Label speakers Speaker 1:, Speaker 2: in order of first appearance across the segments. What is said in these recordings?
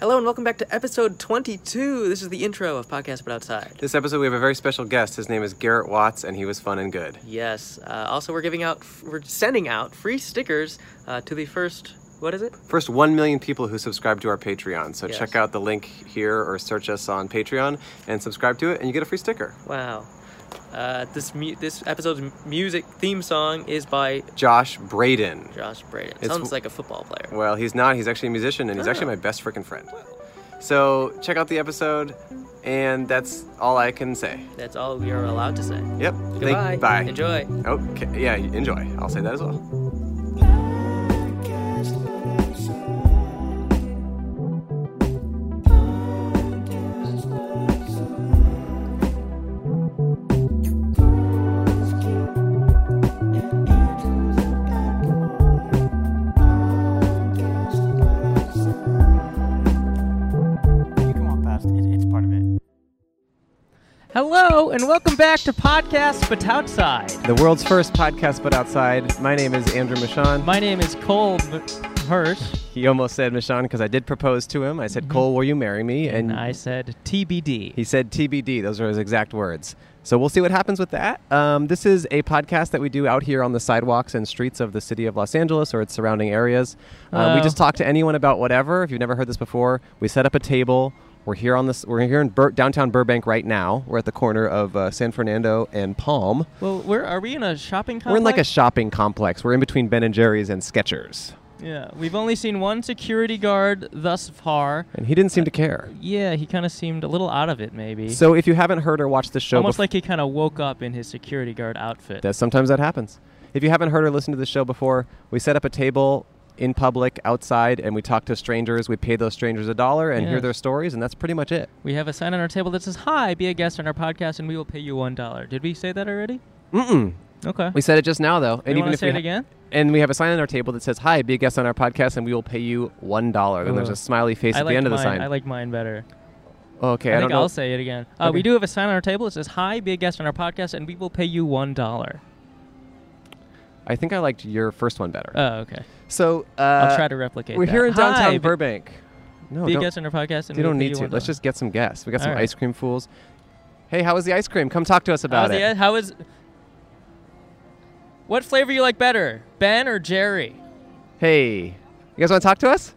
Speaker 1: Hello and welcome back to episode 22. This is the intro of Podcast But Outside.
Speaker 2: This episode, we have a very special guest. His name is Garrett Watts, and he was fun and good.
Speaker 1: Yes. Uh, also, we're giving out, we're sending out free stickers uh, to the first, what is it?
Speaker 2: First, 1 million people who subscribe to our Patreon. So
Speaker 1: Yes.
Speaker 2: check out the link here or search us on Patreon and subscribe to it, and you get a free sticker.
Speaker 1: Wow. Uh, this mu- this episode's m- music theme song is by
Speaker 2: Josh Braden.
Speaker 1: Josh Braden.
Speaker 2: It's-
Speaker 1: Sounds like a football player.
Speaker 2: Well, he's not. He's actually a musician, and he's
Speaker 1: Oh.
Speaker 2: actually my best freaking friend. So check out the episode, and that's all I can say.
Speaker 1: That's all we are allowed to say.
Speaker 2: Yep. Thank-
Speaker 1: Goodbye.
Speaker 2: bye.
Speaker 1: Enjoy.
Speaker 2: Okay. Yeah, enjoy. I'll say that as well.
Speaker 3: You can walk past it. It's part of it.
Speaker 4: Hello and welcome back to Podcast But Outside.
Speaker 2: The world's first podcast, but outside. My name is Andrew Michon.
Speaker 4: My name is Cole M- Hirsch,
Speaker 2: He almost said Michon because I did propose to him. I said, Cole, will you marry me? And
Speaker 4: Mm-hmm. and I said TBD.
Speaker 2: he said, TBD. Those are his exact words. So we'll see what happens with that. Um, this is a podcast that we do out here on the sidewalks and streets of the city of Los Angeles or its surrounding areas. Um, we
Speaker 4: Oh.
Speaker 2: just talk to anyone about whatever. If you've never heard this before, we set up a table. We're here on this. We're here in Bur- downtown Burbank right now. We're at the corner of uh, San Fernando and Palm.
Speaker 4: Well, where are we in a shopping complex?
Speaker 2: We're in like a shopping complex. We're in between Ben and Jerry's and Skechers,
Speaker 4: yeah. We've only seen one security guard thus far.
Speaker 2: and he
Speaker 4: Uh,
Speaker 2: didn't seem to care.
Speaker 4: Yeah, he kind of seemed a little out of it, maybe.
Speaker 2: So if you haven't heard or watched the show,
Speaker 4: almost
Speaker 2: bef-
Speaker 4: like he kind of woke up in his security guard outfit.
Speaker 2: that sometimes that happens. If you haven't heard or listened to the show before, we set up a table in public outside and we talk to strangers. We pay those strangers a dollar and hear
Speaker 4: Yes.
Speaker 2: their stories, and that's pretty much it.
Speaker 4: we have a sign on our table that says, "Hi, be a guest on our podcast, and we will pay you one dollar." Did we say that already?
Speaker 2: Mm-mm.
Speaker 4: Okay.
Speaker 2: We said it just now though,
Speaker 4: You wanna say
Speaker 2: we
Speaker 4: it
Speaker 2: ha-
Speaker 4: again?
Speaker 2: and we have a sign on our table that says "Hi, be a guest on our podcast, and we will pay you one dollar." Then there's
Speaker 4: Ugh.
Speaker 2: a smiley face
Speaker 4: I
Speaker 2: at
Speaker 4: like
Speaker 2: the end of
Speaker 4: mine.
Speaker 2: the sign. Oh,
Speaker 4: I like mine better.
Speaker 2: okay, I,
Speaker 4: I
Speaker 2: don't
Speaker 4: think
Speaker 2: know.
Speaker 4: I'll say it again. Uh,
Speaker 2: Okay.
Speaker 4: We do have a sign on our table that says, "Hi, be a guest on our podcast, and we will pay you one dollar."
Speaker 2: I think I liked your first one better.
Speaker 4: Oh, okay.
Speaker 2: so uh,
Speaker 4: I'll try to replicate.
Speaker 2: We're
Speaker 4: that.
Speaker 2: here in downtown
Speaker 4: Hi, be-
Speaker 2: Burbank. No,
Speaker 4: Be a
Speaker 2: don't-
Speaker 4: guest on our podcast, and
Speaker 2: You
Speaker 4: we will
Speaker 2: don't
Speaker 4: pay
Speaker 2: need to.
Speaker 4: $1.
Speaker 2: Let's just get some guests. We got some
Speaker 4: Alright.
Speaker 2: ice cream fools. Hey, how was the ice cream? Come talk to us about
Speaker 4: How's
Speaker 2: it.
Speaker 4: the- how is? What flavor you like better, Ben or Jerry?
Speaker 2: hey, you guys want to talk to us?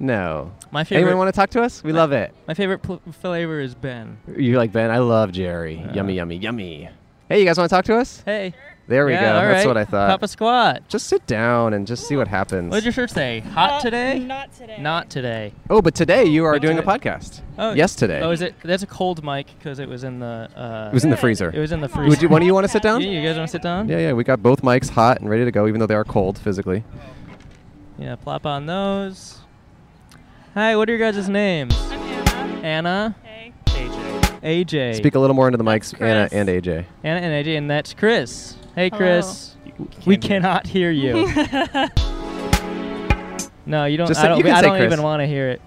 Speaker 2: No.
Speaker 4: My favorite.
Speaker 2: Anyone want to talk to us? We love it.
Speaker 4: my favorite pl- flavor is Ben.
Speaker 2: You like Ben? I love Jerry.
Speaker 4: Uh.
Speaker 2: yummy, yummy, yummy. Hey, you guys want to talk to us?
Speaker 4: Hey.
Speaker 2: There we
Speaker 4: Yeah,
Speaker 2: go.
Speaker 4: all
Speaker 2: That's
Speaker 4: right.
Speaker 2: what I thought.
Speaker 4: Papa squat.
Speaker 2: just sit down and just see what happens.
Speaker 4: What did your shirt say? Hot
Speaker 5: Uh,
Speaker 4: today?
Speaker 5: Not today.
Speaker 4: Not today.
Speaker 2: oh, but today you are
Speaker 4: What's
Speaker 2: doing a
Speaker 4: it?
Speaker 2: podcast.
Speaker 4: Oh,
Speaker 2: yes, today.
Speaker 4: Oh, is it? That's a cold mic because it was in the. Uh,
Speaker 2: It was in the
Speaker 5: Good.
Speaker 2: freezer.
Speaker 4: It was in the
Speaker 5: Come
Speaker 4: freezer.
Speaker 5: on.
Speaker 2: Would you- one of you wanna sit
Speaker 4: Yeah,
Speaker 2: down?
Speaker 4: you guys want to sit down?
Speaker 2: yeah, yeah. We got both mics hot and ready to go, even though they are cold physically.
Speaker 4: Yeah, plop on those. Hi, what are your guys' names?
Speaker 5: I'm Anna.
Speaker 4: Anna,
Speaker 5: Hey.
Speaker 4: AJ.
Speaker 2: Speak a little more into the mics, Anna
Speaker 5: Chris.
Speaker 2: and AJ.
Speaker 4: Anna and AJ, and that's Chris. Hey,
Speaker 5: Hello.
Speaker 4: Chris. We cannot hear you. no, you don't.
Speaker 2: Just
Speaker 4: I
Speaker 2: say-
Speaker 4: don't,
Speaker 2: you can
Speaker 4: I
Speaker 2: say
Speaker 4: don't
Speaker 2: Chris.
Speaker 4: even want to hear it.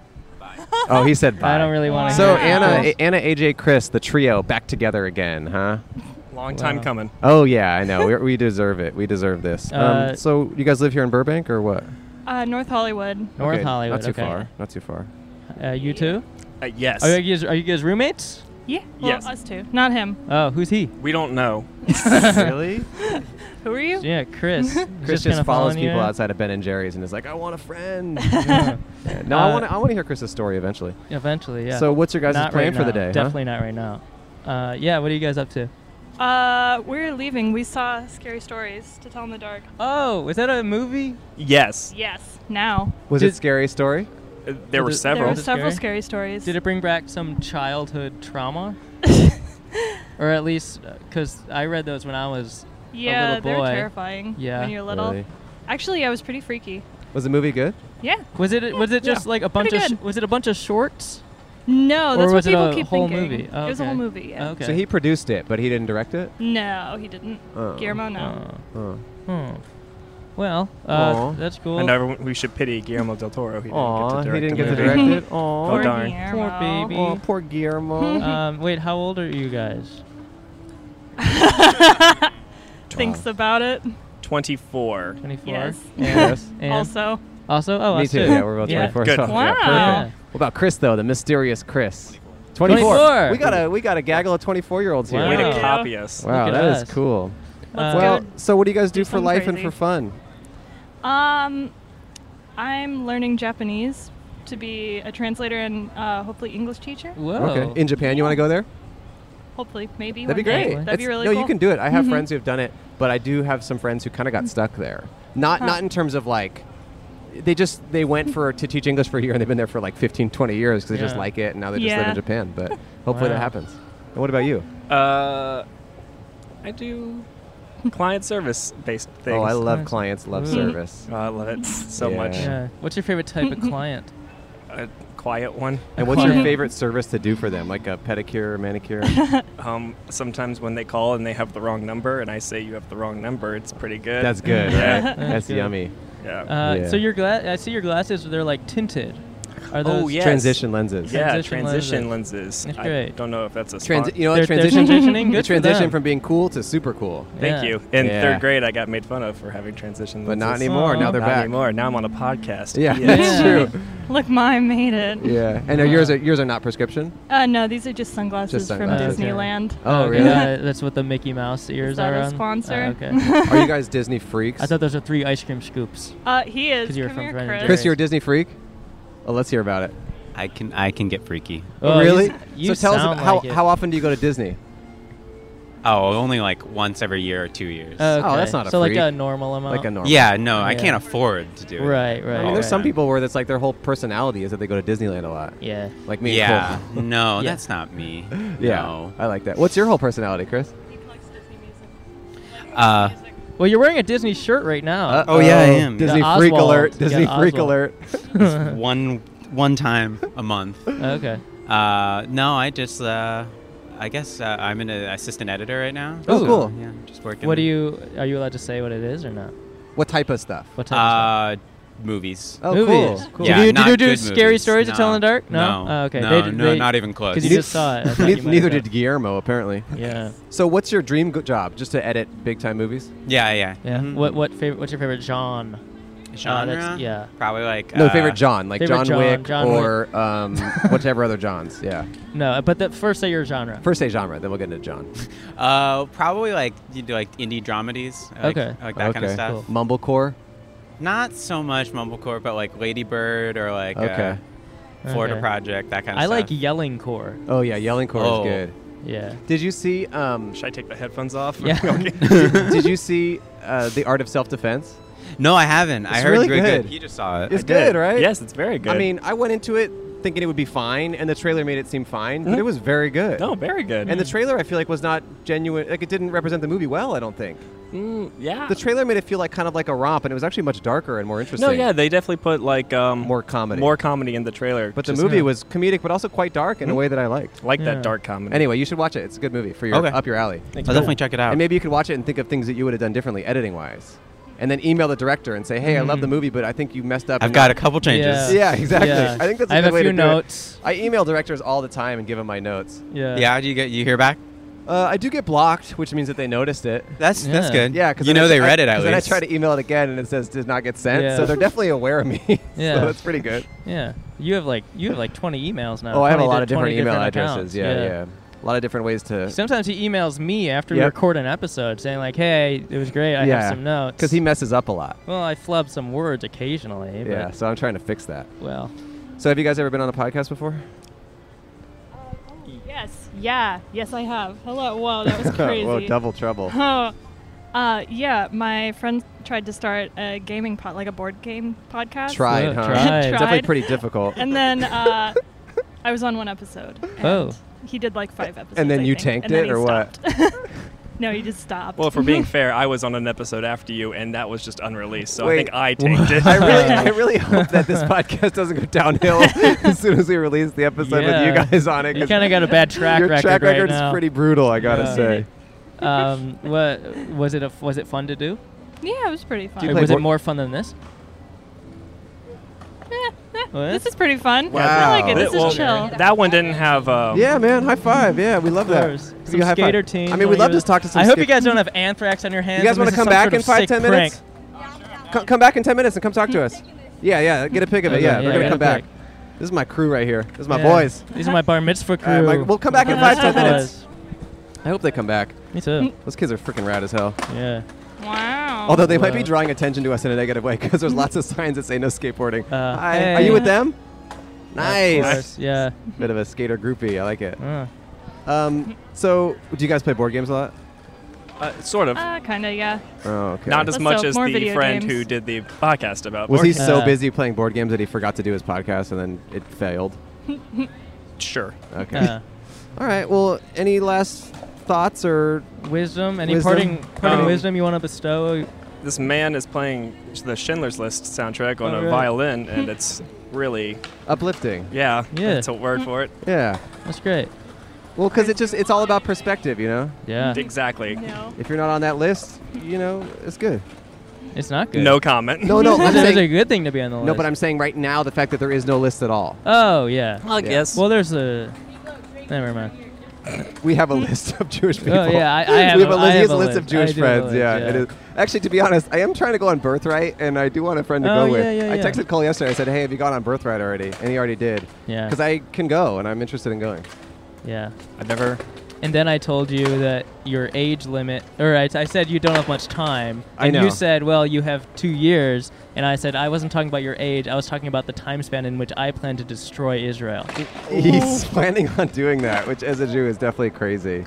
Speaker 2: Oh, he said bye.
Speaker 4: I don't really want to
Speaker 2: So
Speaker 4: hear it.
Speaker 2: Anna,
Speaker 4: Chris.
Speaker 2: A- Anna, AJ, Chris, the trio back together again, huh?
Speaker 3: Long time
Speaker 4: Wow.
Speaker 3: coming.
Speaker 2: Oh yeah, I know. we we deserve it. We deserve this.
Speaker 4: Uh,
Speaker 2: um, so you guys live here in Burbank or what?
Speaker 5: Uh, North Hollywood.
Speaker 4: North
Speaker 2: Okay,
Speaker 4: Hollywood.
Speaker 2: Not too
Speaker 4: okay.
Speaker 2: far. Not too far.
Speaker 4: Uh, you two?
Speaker 3: Uh, yes.
Speaker 4: Are you, guys, are you guys roommates?
Speaker 5: Yeah. Well,
Speaker 3: Yes.
Speaker 5: us two. Not him.
Speaker 4: Oh, who's he?
Speaker 3: we don't know.
Speaker 2: really?
Speaker 5: Who are you?
Speaker 4: Yeah, Chris.
Speaker 2: Chris just,
Speaker 4: kinda
Speaker 2: follows
Speaker 4: following
Speaker 2: people
Speaker 4: you?
Speaker 2: outside of Ben and Jerry's and is like, "I want a friend."
Speaker 4: Yeah.
Speaker 2: Yeah, no, I
Speaker 4: Uh,
Speaker 2: want to. I want to hear Chris's story eventually.
Speaker 4: Eventually, yeah.
Speaker 2: So what's your guys'
Speaker 4: Not
Speaker 2: plan
Speaker 4: right
Speaker 2: for the
Speaker 4: now.
Speaker 2: day? huh?
Speaker 4: Definitely not right now. Uh, yeah, what are you guys up to?
Speaker 5: Uh, we're leaving. We saw Scary Stories to Tell in the Dark.
Speaker 4: Oh, was that a movie?
Speaker 3: Yes.
Speaker 5: Yes. Now.
Speaker 2: Was it
Speaker 4: Did-
Speaker 2: scary story?
Speaker 3: Uh, There were
Speaker 4: Is it-
Speaker 5: There
Speaker 3: several.
Speaker 5: were
Speaker 4: Was it
Speaker 5: several
Speaker 4: scary?
Speaker 5: scary, stories.
Speaker 4: Did it bring back some childhood trauma? or at least, because I read those when I was.
Speaker 5: yeah,
Speaker 4: little
Speaker 5: they were
Speaker 4: boy.
Speaker 5: terrifying
Speaker 4: Yeah.
Speaker 5: when you're little.
Speaker 2: Really?
Speaker 5: Actually, I was pretty freaky.
Speaker 2: Was the movie good?
Speaker 5: Yeah.
Speaker 4: Was it was it just
Speaker 2: Yeah.
Speaker 4: like a bunch
Speaker 5: Pretty
Speaker 4: of sh-
Speaker 5: good.
Speaker 4: was it a bunch of shorts?
Speaker 5: No,
Speaker 4: Or
Speaker 5: Oh, that's what
Speaker 4: was it
Speaker 5: people
Speaker 4: a
Speaker 5: keep
Speaker 4: whole
Speaker 5: thinking.
Speaker 4: movie?
Speaker 5: It was a
Speaker 4: Okay.
Speaker 5: whole movie. Yeah.
Speaker 4: Okay.
Speaker 2: So he produced it, but he didn't direct it.
Speaker 5: No, he didn't.
Speaker 2: Oh.
Speaker 5: Guillermo, no.
Speaker 2: Oh.
Speaker 4: Oh. Hmm. Well,
Speaker 2: Aw.
Speaker 4: uh, that's cool.
Speaker 3: And everyone, we should pity Guillermo del Toro. He
Speaker 2: Aw, he didn't
Speaker 3: the
Speaker 2: get to
Speaker 3: movie.
Speaker 2: direct it.
Speaker 3: Oh,
Speaker 5: Poor
Speaker 2: Aw.
Speaker 3: darn.
Speaker 5: Guillermo.
Speaker 4: baby.
Speaker 2: Aw, poor Guillermo.
Speaker 4: um, wait, how old are you guys? Oh.
Speaker 5: Thinks about it.
Speaker 3: 24.
Speaker 4: 24.
Speaker 5: Yes.
Speaker 4: And,
Speaker 2: Yes.
Speaker 4: and
Speaker 5: Also.
Speaker 4: also, oh,
Speaker 2: Me
Speaker 4: us
Speaker 2: too. Yeah, we're both
Speaker 4: Yeah.
Speaker 2: 24.
Speaker 3: Good.
Speaker 2: So, yeah,
Speaker 5: Wow.
Speaker 2: perfect.
Speaker 4: Yeah.
Speaker 2: What about Chris though? The mysterious Chris.
Speaker 4: 24.
Speaker 2: 24.
Speaker 4: 24.
Speaker 2: We got a we got a gaggle of 24 year olds here.
Speaker 4: Wow.
Speaker 3: Way
Speaker 5: Wow.
Speaker 3: to copy us.
Speaker 2: Wow,
Speaker 4: Look at
Speaker 2: that is
Speaker 4: us.
Speaker 2: cool.
Speaker 5: Let's
Speaker 2: well,
Speaker 5: go.
Speaker 2: so what do you guys do, for
Speaker 5: something
Speaker 2: life and
Speaker 5: crazy.
Speaker 2: for fun?
Speaker 5: Um, I'm learning Japanese to be a translator and uh, hopefully English teacher.
Speaker 4: Whoa.
Speaker 2: Okay. In Japan, you want to go there?
Speaker 5: Hopefully, maybe.
Speaker 2: That'd be
Speaker 5: one day.
Speaker 2: great.
Speaker 5: That'd be
Speaker 2: It's-
Speaker 5: really
Speaker 2: no,
Speaker 5: cool. Mm-hmm.
Speaker 2: you can do it. I have friends who have done it, but I do have some friends who kind of got stuck there. Not
Speaker 5: Huh.
Speaker 2: not in terms of like they just they went for to teach English for a year and they've been there for like 15, 20 years because they just
Speaker 4: Yeah.
Speaker 2: like it and now they just live
Speaker 5: Yeah.
Speaker 2: in Japan. But hopefully that
Speaker 4: Wow.
Speaker 2: happens. And what about you?
Speaker 3: Uh, I do client service based things.
Speaker 2: Oh, I love
Speaker 4: Nice.
Speaker 2: clients, love
Speaker 4: Ooh.
Speaker 2: service.
Speaker 3: Oh, I love it so
Speaker 2: Yeah.
Speaker 3: much.
Speaker 4: Yeah. What's your favorite type of client?
Speaker 3: A quiet one.
Speaker 2: And what's your
Speaker 4: Client.
Speaker 2: favorite service to do for them? Like a pedicure or manicure?
Speaker 3: Um, sometimes when they call and they have the wrong number, and I say you have the wrong number, it's pretty good.
Speaker 2: That's good.
Speaker 3: Yeah.
Speaker 2: right? That's
Speaker 4: good.
Speaker 2: yummy.
Speaker 3: Yeah.
Speaker 4: Uh,
Speaker 2: Yeah.
Speaker 4: So your glass, I see your glasses. They're like tinted. Are those?
Speaker 3: oh yes.
Speaker 2: Transition lenses.
Speaker 3: Yeah,
Speaker 4: Transition
Speaker 3: transition lenses.
Speaker 4: That's
Speaker 3: I
Speaker 4: great.
Speaker 3: don't know if that's a
Speaker 2: Transi-
Speaker 3: spon-
Speaker 2: you know what?
Speaker 4: They're- they're
Speaker 2: transition.
Speaker 4: transitioning?
Speaker 2: the
Speaker 4: Good for
Speaker 2: transition
Speaker 4: them.
Speaker 2: from being cool to super cool.
Speaker 3: Thank
Speaker 4: Yeah.
Speaker 3: you. In
Speaker 2: Yeah.
Speaker 3: third grade, I got made fun of for having transition lenses.
Speaker 2: But not anymore. Now
Speaker 4: Aw.
Speaker 2: they're
Speaker 3: Not
Speaker 2: back.
Speaker 3: anymore. Now I'm on a podcast.
Speaker 2: Yeah,
Speaker 4: Yeah.
Speaker 2: that's true.
Speaker 5: Look, my made it.
Speaker 2: Yeah, and are yours are yours are not prescription.
Speaker 5: Uh, no, these are just sunglasses,
Speaker 2: Just sunglasses,
Speaker 5: from
Speaker 4: okay.
Speaker 5: Disneyland.
Speaker 2: Oh,
Speaker 4: Okay,
Speaker 2: really?
Speaker 4: that- that's what the Mickey Mouse ears
Speaker 5: Is that
Speaker 4: are
Speaker 5: a
Speaker 4: on.
Speaker 5: sponsor?
Speaker 4: Ah, okay.
Speaker 2: Are you guys Disney freaks?
Speaker 4: I thought those were three ice cream scoops.
Speaker 5: Uh, he is.
Speaker 4: 'Cause you were
Speaker 5: Come
Speaker 4: from
Speaker 5: here,
Speaker 4: Fred and
Speaker 5: Chris.
Speaker 2: Chris, you're a Disney freak. Oh, let's hear about it.
Speaker 6: I can I can get freaky.
Speaker 4: Oh, you
Speaker 2: really?
Speaker 4: s- You
Speaker 2: so tell us
Speaker 4: sound
Speaker 2: about- how
Speaker 4: like it.
Speaker 2: how often do you go to Disney?
Speaker 6: Oh, only like once every year or two years.
Speaker 4: Oh, okay.
Speaker 2: Oh, that's not a
Speaker 4: so like
Speaker 2: freak.
Speaker 4: a normal amount.
Speaker 2: Like a normal.
Speaker 6: yeah, no, I
Speaker 4: Yeah.
Speaker 6: can't afford to do it.
Speaker 4: Right, right.
Speaker 2: I mean,
Speaker 4: right.
Speaker 2: there's some people where that's like their whole personality is that they go to Disneyland a lot.
Speaker 4: Yeah.
Speaker 2: Like me. and
Speaker 6: Yeah,
Speaker 2: Cole.
Speaker 6: no,
Speaker 4: Yeah.
Speaker 6: that's not me.
Speaker 2: Yeah.
Speaker 6: No.
Speaker 2: I like that. What's your whole personality, Chris?
Speaker 5: He collects Disney music.
Speaker 6: Uh,
Speaker 4: Well, you're wearing a Disney shirt right now.
Speaker 6: oh, yeah, I am.
Speaker 2: Disney
Speaker 4: Yeah,
Speaker 2: freak
Speaker 4: Oswald.
Speaker 2: alert.
Speaker 4: You
Speaker 2: Disney
Speaker 4: got
Speaker 2: freak
Speaker 4: Oswald.
Speaker 2: alert.
Speaker 6: it's one one time a month.
Speaker 4: okay.
Speaker 6: Uh, no, I just uh, I guess uh, I'm an uh, assistant editor right now.
Speaker 2: Oh,
Speaker 6: so,
Speaker 2: cool.
Speaker 6: Yeah, just working.
Speaker 4: What do you? Are you allowed to say what it is or not?
Speaker 2: What type of stuff?
Speaker 4: What type of stuff?
Speaker 6: Uh, movies.
Speaker 2: Oh,
Speaker 4: movies.
Speaker 2: cool. cool.
Speaker 6: Yeah,
Speaker 4: Did you,
Speaker 6: not
Speaker 4: did you do
Speaker 6: good
Speaker 4: scary
Speaker 6: movies.
Speaker 4: stories
Speaker 6: no.
Speaker 4: to tell in the dark?
Speaker 6: No.
Speaker 4: Oh, okay.
Speaker 6: No,
Speaker 4: They did-
Speaker 6: no,
Speaker 4: they-
Speaker 6: not even close.
Speaker 4: Because you just saw it. I thought you
Speaker 2: Neither,
Speaker 4: might have
Speaker 2: neither
Speaker 4: done
Speaker 2: did Guillermo apparently.
Speaker 4: it. Yeah.
Speaker 2: So, what's your dream go- job? Just to edit big time movies?
Speaker 6: Yeah, yeah.
Speaker 4: Yeah.
Speaker 6: Mhm.
Speaker 4: What what favorite? What's your favorite genre? Uh,
Speaker 6: genre?
Speaker 4: that's- yeah.
Speaker 6: Probably like
Speaker 2: No,
Speaker 6: uh,
Speaker 2: favorite John, like
Speaker 4: favorite
Speaker 2: John,
Speaker 4: John,
Speaker 2: Wick
Speaker 4: John
Speaker 2: or Um, whichever other Johns. Yeah.
Speaker 4: No, uh, but the first say your genre.
Speaker 2: First say genre, then we'll get into John.
Speaker 6: Uh, probably like you do like indie dramedies. I like-
Speaker 4: Okay.
Speaker 6: I like that kind of
Speaker 2: Okay.
Speaker 6: stuff.
Speaker 4: Cool.
Speaker 2: Mumblecore.
Speaker 6: Not so much mumblecore, but like Ladybird or like
Speaker 2: Okay.
Speaker 6: uh, Florida
Speaker 4: Okay.
Speaker 6: Project, that kind of
Speaker 4: I
Speaker 6: stuff.
Speaker 4: like yelling core.
Speaker 2: Oh yeah, yelling core
Speaker 6: Oh.
Speaker 2: is good.
Speaker 4: Yeah.
Speaker 2: Did you see? Um,
Speaker 3: Should I take the headphones off?
Speaker 4: Yeah.
Speaker 2: did, did you see uh, the Art of Self Defense?
Speaker 6: No, I haven't. I
Speaker 2: It's
Speaker 6: heard
Speaker 2: really
Speaker 6: good,
Speaker 2: good.
Speaker 6: You just saw it.
Speaker 2: It's
Speaker 3: I
Speaker 2: good,
Speaker 3: did.
Speaker 2: right?
Speaker 3: Yes, it's very good.
Speaker 2: I mean, I went into it thinking it would be fine, and the trailer made it seem fine, but
Speaker 4: Mm-hmm.
Speaker 3: Mhm.
Speaker 2: it was very good.
Speaker 3: no, very good.
Speaker 2: And the trailer, I feel like, was not genuine. Like it didn't represent the movie well. I don't think
Speaker 3: Mm, yeah.
Speaker 4: Ah.
Speaker 2: the trailer made it feel like kind of like a romp, and it was actually much darker and more interesting.
Speaker 3: no, yeah, they definitely put like um,
Speaker 2: More comedy.
Speaker 3: more comedy in the trailer.
Speaker 2: But the
Speaker 3: Just
Speaker 2: movie
Speaker 4: yeah.
Speaker 2: was comedic, but also quite dark in a way that I liked.
Speaker 3: like
Speaker 4: Yeah.
Speaker 3: that dark comedy.
Speaker 2: Anyway, you should watch it. It's a good movie for your
Speaker 6: Okay.
Speaker 2: up your alley.
Speaker 6: I'll definitely check it out.
Speaker 2: And maybe you could watch it and think of things that you would have done differently editing wise, and then email the director and say, "Hey, I love the movie, but I think you messed up."
Speaker 6: I've
Speaker 2: and-
Speaker 6: got a couple changes.
Speaker 2: Yeah, exactly. I think that's a
Speaker 4: I have
Speaker 2: good
Speaker 4: a
Speaker 2: way
Speaker 4: few
Speaker 2: to do it.
Speaker 4: notes.
Speaker 2: I email directors all the time and give them my notes.
Speaker 4: Yeah.
Speaker 6: Yeah, do you get you hear back?
Speaker 2: Uh, I do get blocked, which means that they noticed it.
Speaker 6: That's that's
Speaker 4: Yeah.
Speaker 6: good.
Speaker 2: Yeah, because
Speaker 6: you know they read it at
Speaker 2: because
Speaker 6: least.
Speaker 2: Then I try to email it again, and it says did not get sent.
Speaker 4: Yeah.
Speaker 2: So they're definitely aware of me.
Speaker 4: Yeah.
Speaker 2: so that's pretty good.
Speaker 4: Yeah. You have like you have like 20 emails now.
Speaker 2: oh, I have a
Speaker 4: 20
Speaker 2: lot of different
Speaker 4: 20
Speaker 2: email
Speaker 4: accounts.
Speaker 2: addresses. Yeah, yeah, A lot of different ways to.
Speaker 4: Sometimes he emails me after we
Speaker 2: Yep.
Speaker 4: record an episode saying like, "Hey, it was great. I
Speaker 2: yeah,
Speaker 4: have some notes."
Speaker 2: because he messes up a lot.
Speaker 4: well, I flub some words occasionally. But,
Speaker 2: Yeah, so I'm trying to fix that.
Speaker 4: Well,
Speaker 2: So have you guys ever been on a podcast before?
Speaker 5: Yes. Yeah. Yes, I have. Hello. Whoa, that was crazy.
Speaker 2: Whoa, double trouble.
Speaker 5: Oh, uh, yeah. My friend tried to start a gaming pod, like a board game podcast.
Speaker 2: Tried,
Speaker 4: Yeah,
Speaker 2: huh?
Speaker 4: tried.
Speaker 2: It's Definitely
Speaker 5: Tried.
Speaker 2: pretty difficult.
Speaker 5: And then uh, I was on one episode. and
Speaker 4: Oh.
Speaker 5: He did like five episodes.
Speaker 2: then
Speaker 5: I
Speaker 2: you
Speaker 5: think,
Speaker 2: tanked
Speaker 5: and then
Speaker 2: it,
Speaker 5: he
Speaker 2: or what?
Speaker 5: stopped. no, he just stopped.
Speaker 3: Well, if we're being fair, I was on an episode after you, and that was just unreleased. So
Speaker 2: Wait.
Speaker 3: I think I tanked it.
Speaker 2: I really, I really hope that this podcast doesn't go downhill as soon as we release the episode with
Speaker 4: Yeah.
Speaker 2: you guys on it.
Speaker 4: you
Speaker 2: 'cause
Speaker 4: kind of got a bad track
Speaker 2: your
Speaker 4: record
Speaker 2: track
Speaker 4: right
Speaker 2: record
Speaker 4: now.
Speaker 2: is pretty brutal, I gotta
Speaker 4: Yeah.
Speaker 2: say.
Speaker 4: um, what was it? A, was it fun to do?
Speaker 5: yeah, it was pretty fun.
Speaker 2: Do you
Speaker 4: Or
Speaker 2: play
Speaker 4: was it
Speaker 2: board-
Speaker 4: more fun than this?
Speaker 5: Eh, eh,
Speaker 4: What?
Speaker 5: this is pretty fun.
Speaker 2: Wow.
Speaker 5: I like it. This
Speaker 3: Well,
Speaker 5: is chill.
Speaker 3: That one didn't have. Um,
Speaker 2: Yeah, man, high five. Yeah, we love that.
Speaker 4: Some
Speaker 2: Give you a high five.
Speaker 4: skater team.
Speaker 2: I mean, we'd love to talk to some.
Speaker 4: I hope
Speaker 2: ska-
Speaker 4: you guys don't have anthrax on your hands.
Speaker 2: You guys
Speaker 4: and
Speaker 2: wanna
Speaker 4: this is
Speaker 2: come
Speaker 4: some
Speaker 2: back
Speaker 4: sort
Speaker 2: in
Speaker 4: of
Speaker 2: five,
Speaker 4: sick
Speaker 2: ten
Speaker 4: prank.
Speaker 2: minutes? Co- come back in ten minutes and come talk to us. Yeah, yeah, get a pic of it.
Speaker 4: Okay,
Speaker 2: Yeah, we're
Speaker 4: yeah,
Speaker 2: gonna
Speaker 4: get
Speaker 2: come
Speaker 4: a
Speaker 2: back.
Speaker 4: pic.
Speaker 2: This is my crew right here. This is my
Speaker 4: Yeah.
Speaker 2: boys.
Speaker 4: These are my bar mitzvah crew.
Speaker 2: All right, Mike, we'll come back in
Speaker 5: Bar
Speaker 2: five,
Speaker 5: mitzvah
Speaker 2: ten minutes.
Speaker 4: Boys.
Speaker 2: I hope they come back.
Speaker 4: Me too.
Speaker 2: Those kids are freaking rad as hell.
Speaker 4: yeah.
Speaker 5: Wow.
Speaker 2: Although they might be
Speaker 4: Wow.
Speaker 2: drawing attention to us in a negative way because there's lots of signs that say no skateboarding.
Speaker 4: Uh,
Speaker 2: Hi, Are you with them? Nice.
Speaker 4: Nice. Yeah.
Speaker 2: Bit of a skater groupie. I like it.
Speaker 4: Uh,
Speaker 2: Um, so, do you guys play board games a lot?
Speaker 3: Uh, sort of.
Speaker 5: uh, kind of, yeah.
Speaker 2: Oh, okay.
Speaker 3: Not as
Speaker 5: Let's
Speaker 3: much
Speaker 5: hope
Speaker 3: as
Speaker 5: more
Speaker 3: the
Speaker 5: video
Speaker 3: friend
Speaker 5: games.
Speaker 3: who did the podcast about.
Speaker 2: was
Speaker 3: board
Speaker 2: he
Speaker 3: games.
Speaker 2: so
Speaker 4: Uh,
Speaker 2: busy playing board games that he forgot to do his podcast and then it failed?
Speaker 3: Sure.
Speaker 2: Okay.
Speaker 4: uh,
Speaker 2: All right. Well, any last thoughts or
Speaker 4: wisdom. Any
Speaker 2: Wisdom.
Speaker 4: parting, parting
Speaker 3: Um,
Speaker 4: wisdom you want to bestow?
Speaker 3: This man is playing the Schindler's List soundtrack on
Speaker 4: Oh,
Speaker 3: a
Speaker 4: really?
Speaker 3: violin, and it's really,
Speaker 2: uplifting?
Speaker 3: yeah,
Speaker 4: Yeah.
Speaker 3: that's a word for it.
Speaker 2: Yeah.
Speaker 4: That's great.
Speaker 2: Well, because it just it's all about perspective, you know.
Speaker 4: Yeah.
Speaker 3: Exactly.
Speaker 5: No.
Speaker 2: If you're not on that list, you know, it's good.
Speaker 4: It's not good.
Speaker 3: No comment.
Speaker 2: No, no, I'm
Speaker 4: It's a
Speaker 2: saying,
Speaker 4: good thing to be on the list.
Speaker 2: no, but I'm saying right now the fact that there is no list at all.
Speaker 4: Oh yeah.
Speaker 1: I guess.
Speaker 4: Well, there's a. Never mind. Oh,
Speaker 2: We have a list of Jewish people.
Speaker 4: yeah, I- I have
Speaker 2: we have
Speaker 4: a-
Speaker 2: a
Speaker 4: I
Speaker 2: list, he
Speaker 4: have
Speaker 2: has a
Speaker 4: a
Speaker 2: list of
Speaker 4: list.
Speaker 2: Jewish
Speaker 4: I do have a
Speaker 2: friends.
Speaker 4: list,
Speaker 2: yeah,
Speaker 4: yeah.
Speaker 2: it is. Actually, to be honest, I am trying to go on Birthright, and I do want a friend to
Speaker 4: Oh,
Speaker 2: go with.
Speaker 4: yeah, yeah,
Speaker 2: I
Speaker 4: yeah.
Speaker 2: texted Cole yesterday. I said, "Hey, have you gone on Birthright already?" And he already did.
Speaker 4: Yeah.
Speaker 2: Because I can go, and I'm interested in going.
Speaker 4: Yeah.
Speaker 3: I've never.
Speaker 4: And then I told you that your age limit, or I, I said you don't have much time.
Speaker 2: I
Speaker 4: and
Speaker 2: know.
Speaker 4: you said, well, you have two years. And I said, I wasn't talking about your age. I was talking about the time span in which I plan to destroy Israel.
Speaker 2: He's planning on doing that, which as a Jew is definitely crazy.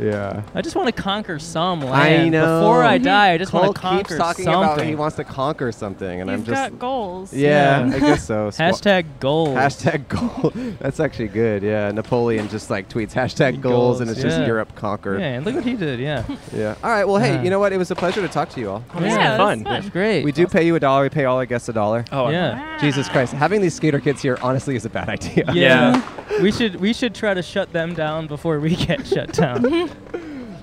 Speaker 2: Yeah.
Speaker 4: I just want to conquer some
Speaker 2: I
Speaker 4: land.
Speaker 2: know. Mhm.
Speaker 4: Before I die, I just
Speaker 2: Cole
Speaker 4: want to conquer
Speaker 2: keeps talking
Speaker 4: something.
Speaker 2: about he wants to conquer something, and
Speaker 5: You've
Speaker 2: I'm just
Speaker 5: got goals.
Speaker 2: yeah,
Speaker 4: Yeah.
Speaker 2: I guess so. Swa-
Speaker 4: Hashtag goals.
Speaker 2: Hashtag goal. That's actually good. Yeah, Napoleon just like tweets hashtag goals,
Speaker 4: Goals,
Speaker 2: and it's just
Speaker 4: yeah.
Speaker 2: Europe conquered.
Speaker 4: Yeah, and look what he did. Yeah.
Speaker 2: Yeah. All right. Well, hey,
Speaker 4: Yeah.
Speaker 2: you know what? It was a pleasure to talk to you all.
Speaker 3: Oh, this is
Speaker 4: Yeah,
Speaker 3: fun.
Speaker 4: That's great.
Speaker 2: We do pay you a dollar. We pay all our guests a dollar.
Speaker 3: Oh,
Speaker 4: Yeah.
Speaker 5: Wow.
Speaker 2: Jesus Christ! Having these skater kids here honestly is a bad idea.
Speaker 4: Yeah. we should we should try to shut them down before we get shut down.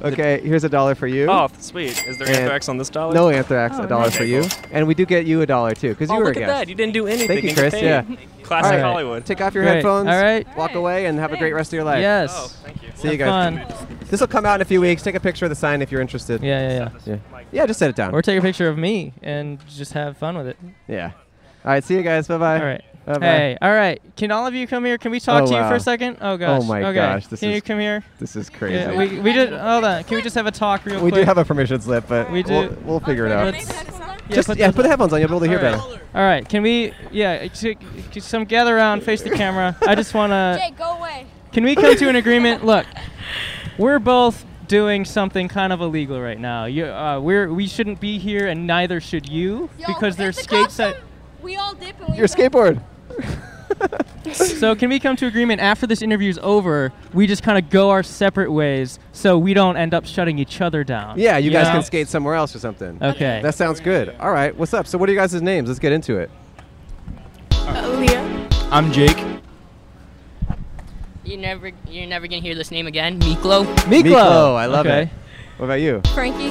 Speaker 2: Okay. Here's a dollar for you.
Speaker 3: Oh, sweet. Is there
Speaker 2: And-
Speaker 3: anthrax on this dollar?
Speaker 2: No anthrax.
Speaker 5: Oh,
Speaker 2: a dollar
Speaker 5: nice.
Speaker 2: for you, and we do get you a dollar too because
Speaker 1: oh,
Speaker 2: you were
Speaker 1: look
Speaker 2: a
Speaker 1: at
Speaker 2: guest.
Speaker 1: that. You didn't do anything.
Speaker 2: Thank you,
Speaker 1: and
Speaker 2: Chris.
Speaker 1: paid.
Speaker 2: Yeah.
Speaker 3: Classic
Speaker 2: All right.
Speaker 3: Hollywood.
Speaker 2: Take off your
Speaker 4: Great.
Speaker 2: headphones.
Speaker 4: All right.
Speaker 2: Walk away and have a great rest of your life.
Speaker 4: yes.
Speaker 3: Oh, thank you.
Speaker 2: See you
Speaker 4: Have
Speaker 2: guys.
Speaker 4: fun.
Speaker 2: This will come out in a few weeks. Take a picture of the sign if you're interested.
Speaker 4: Yeah, yeah, yeah.
Speaker 2: Yeah. Yeah. Just set it down.
Speaker 4: Or take a picture of me and just have fun with it.
Speaker 2: yeah. All right. See you guys. Bye bye.
Speaker 4: All right.
Speaker 2: Bye-bye.
Speaker 4: Hey, all right. Can all of you come here? Can we talk
Speaker 2: Oh,
Speaker 4: to you
Speaker 2: wow.
Speaker 4: for a second? Oh gosh.
Speaker 2: my
Speaker 4: okay.
Speaker 2: gosh, this
Speaker 4: Can
Speaker 2: is
Speaker 4: you come here?
Speaker 2: This is crazy.
Speaker 4: Yeah, we we did. Hold on. Can we just have a talk real
Speaker 2: We
Speaker 4: quick?
Speaker 2: do have a permission slip, but
Speaker 4: We
Speaker 2: we'll-
Speaker 4: do.
Speaker 2: We'll, figure it out.
Speaker 4: Let's- yeah,
Speaker 2: Just
Speaker 4: put
Speaker 2: yeah,
Speaker 4: those-
Speaker 2: put the headphones on. You'll be able to hear
Speaker 4: All right.
Speaker 2: better.
Speaker 4: all right. Can we? Yeah. t- c- Some gather around, face the camera. I just wanna.
Speaker 7: Jay, go away.
Speaker 4: Can we come to an agreement? Look, we're both doing something kind of illegal right now. You, uh, we're we shouldn't be here, and neither should you,
Speaker 7: Yo,
Speaker 4: because
Speaker 7: if
Speaker 4: there's
Speaker 7: the
Speaker 4: skates.
Speaker 7: cops
Speaker 4: That,
Speaker 7: come, We all dip and we
Speaker 2: Your skateboard.
Speaker 4: so can we come to agreement after this interview's over? We just kind of go our separate ways, so we don't end up shutting each other down.
Speaker 2: Yeah, you guys can
Speaker 4: know?
Speaker 2: skate somewhere else or something.
Speaker 4: Uh, Okay.
Speaker 2: That sounds good. All right, what's up? So, what are you guys' names? Let's get into it.
Speaker 8: I'm Jake.
Speaker 9: You never, you're never gonna hear this name again, Miklo.
Speaker 4: Miklo.
Speaker 2: Miklo, I love
Speaker 4: okay.
Speaker 2: it. What about you?
Speaker 7: Frankie.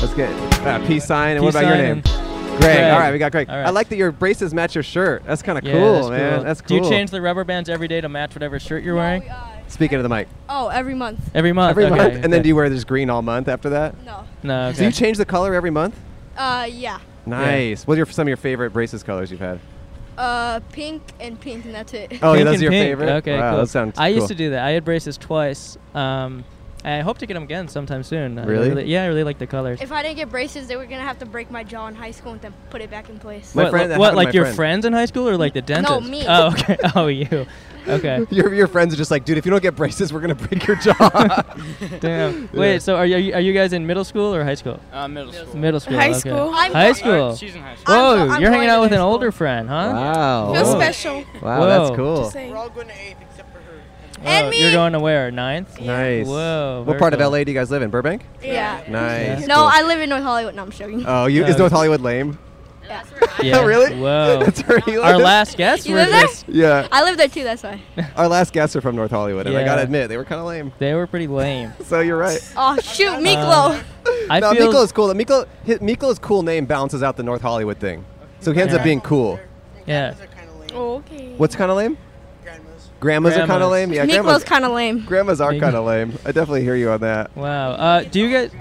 Speaker 2: Let's get uh, peace sign. And what
Speaker 4: Peace
Speaker 2: about your
Speaker 4: sign
Speaker 2: name?
Speaker 4: and-
Speaker 2: Greg.
Speaker 4: Greg.
Speaker 2: All right, we got Greg.
Speaker 4: All right.
Speaker 2: I like that your braces match your shirt. That's kind of
Speaker 4: Yeah,
Speaker 2: cool,
Speaker 4: that's
Speaker 2: man. That's cool.
Speaker 4: Do you change the rubber bands every day to match whatever shirt you're
Speaker 7: No,
Speaker 4: wearing?
Speaker 7: we, uh,
Speaker 2: Speaking of the mic,
Speaker 7: oh, every month.
Speaker 4: Every month.
Speaker 2: every
Speaker 4: okay,
Speaker 2: month, and then
Speaker 4: okay.
Speaker 2: do you wear this green all month after that?
Speaker 7: No.
Speaker 4: No. Okay.
Speaker 2: Do you change the color every month?
Speaker 7: Uh, yeah.
Speaker 2: Nice. What are your, some of your favorite braces colors you've had?
Speaker 7: Uh, pink and pink, and that's it.
Speaker 2: Oh,
Speaker 4: Pink
Speaker 2: yeah, those
Speaker 4: and
Speaker 2: are your
Speaker 4: pink.
Speaker 2: favorite.
Speaker 4: Okay,
Speaker 2: wow,
Speaker 4: cool.
Speaker 2: That sounds
Speaker 4: I
Speaker 2: cool.
Speaker 4: used to do that. I had braces twice. Um, I hope to get them again sometime soon. I
Speaker 2: Really?
Speaker 4: yeah, I really like the colors.
Speaker 7: If I didn't get braces, they were gonna have to break my jaw in high school and then put it back in place.
Speaker 2: My
Speaker 4: what,
Speaker 2: friend- that
Speaker 4: what,
Speaker 2: happened to
Speaker 4: like
Speaker 2: my
Speaker 4: your
Speaker 2: friend.
Speaker 4: friends in high school or like the dentist?
Speaker 7: me.
Speaker 4: Oh, okay. Oh, you. Okay.
Speaker 2: Your, your friends are just like, dude, if you don't get braces, we're gonna break your jaw.
Speaker 4: Damn.
Speaker 2: Yeah.
Speaker 4: Wait. So are you are you guys in middle school or high school?
Speaker 8: Uh, middle school.
Speaker 4: Middle school.
Speaker 10: High
Speaker 4: okay.
Speaker 10: school.
Speaker 7: I'm
Speaker 4: High
Speaker 7: going-
Speaker 4: school.
Speaker 8: She's in high school.
Speaker 4: Whoa,
Speaker 7: I'm go- I'm
Speaker 4: you're hanging
Speaker 7: going
Speaker 4: out
Speaker 7: to
Speaker 4: with an
Speaker 7: middle
Speaker 4: older friend, huh?
Speaker 2: wow.
Speaker 10: Feel
Speaker 4: Whoa.
Speaker 10: special.
Speaker 2: Wow,
Speaker 4: Whoa.
Speaker 2: that's cool.
Speaker 10: Just saying.
Speaker 8: going to eighth except for her.
Speaker 7: And me.
Speaker 4: You're going to where? Ninth.
Speaker 2: Nice.
Speaker 4: Whoa.
Speaker 2: What
Speaker 4: very
Speaker 2: part of
Speaker 4: cool.
Speaker 2: LA do you guys live in? Burbank?
Speaker 7: Yeah.
Speaker 2: Nice.
Speaker 4: Yeah.
Speaker 7: No,
Speaker 2: cool.
Speaker 7: I live in North Hollywood. No, I'm joking.
Speaker 2: Oh, you is
Speaker 4: Uh,
Speaker 2: North Hollywood lame?
Speaker 7: yeah.
Speaker 4: Yeah.
Speaker 2: Oh, really?
Speaker 4: Whoa.
Speaker 2: That's where he
Speaker 4: Our
Speaker 2: lives?
Speaker 4: last guests
Speaker 7: You
Speaker 4: were
Speaker 7: live there?
Speaker 4: just
Speaker 2: Yeah.
Speaker 7: I live there too. That's why.
Speaker 2: Our last guests are from North Hollywood, and I gotta
Speaker 4: Yeah.
Speaker 2: admit, they were kind of lame.
Speaker 4: they were pretty lame.
Speaker 2: So you're right.
Speaker 7: Oh shoot, Miklo.
Speaker 4: Uh, I
Speaker 2: no,
Speaker 4: feel
Speaker 2: Miklo is cool. Miklo, hi- Miklo's cool name balances out the North Hollywood thing. So he ends up
Speaker 4: Yeah.
Speaker 2: being cool.
Speaker 4: yeah.
Speaker 10: Okay.
Speaker 2: What's kind of lame? Grandmas. are kind
Speaker 4: Grandmas.
Speaker 2: of lame. Yeah,
Speaker 7: Miklo's
Speaker 2: grandmas.
Speaker 7: kind of lame.
Speaker 2: Grandmas are
Speaker 4: Miklo-
Speaker 2: kind of lame. I definitely hear you on that.
Speaker 4: Wow. Uh, do you guys do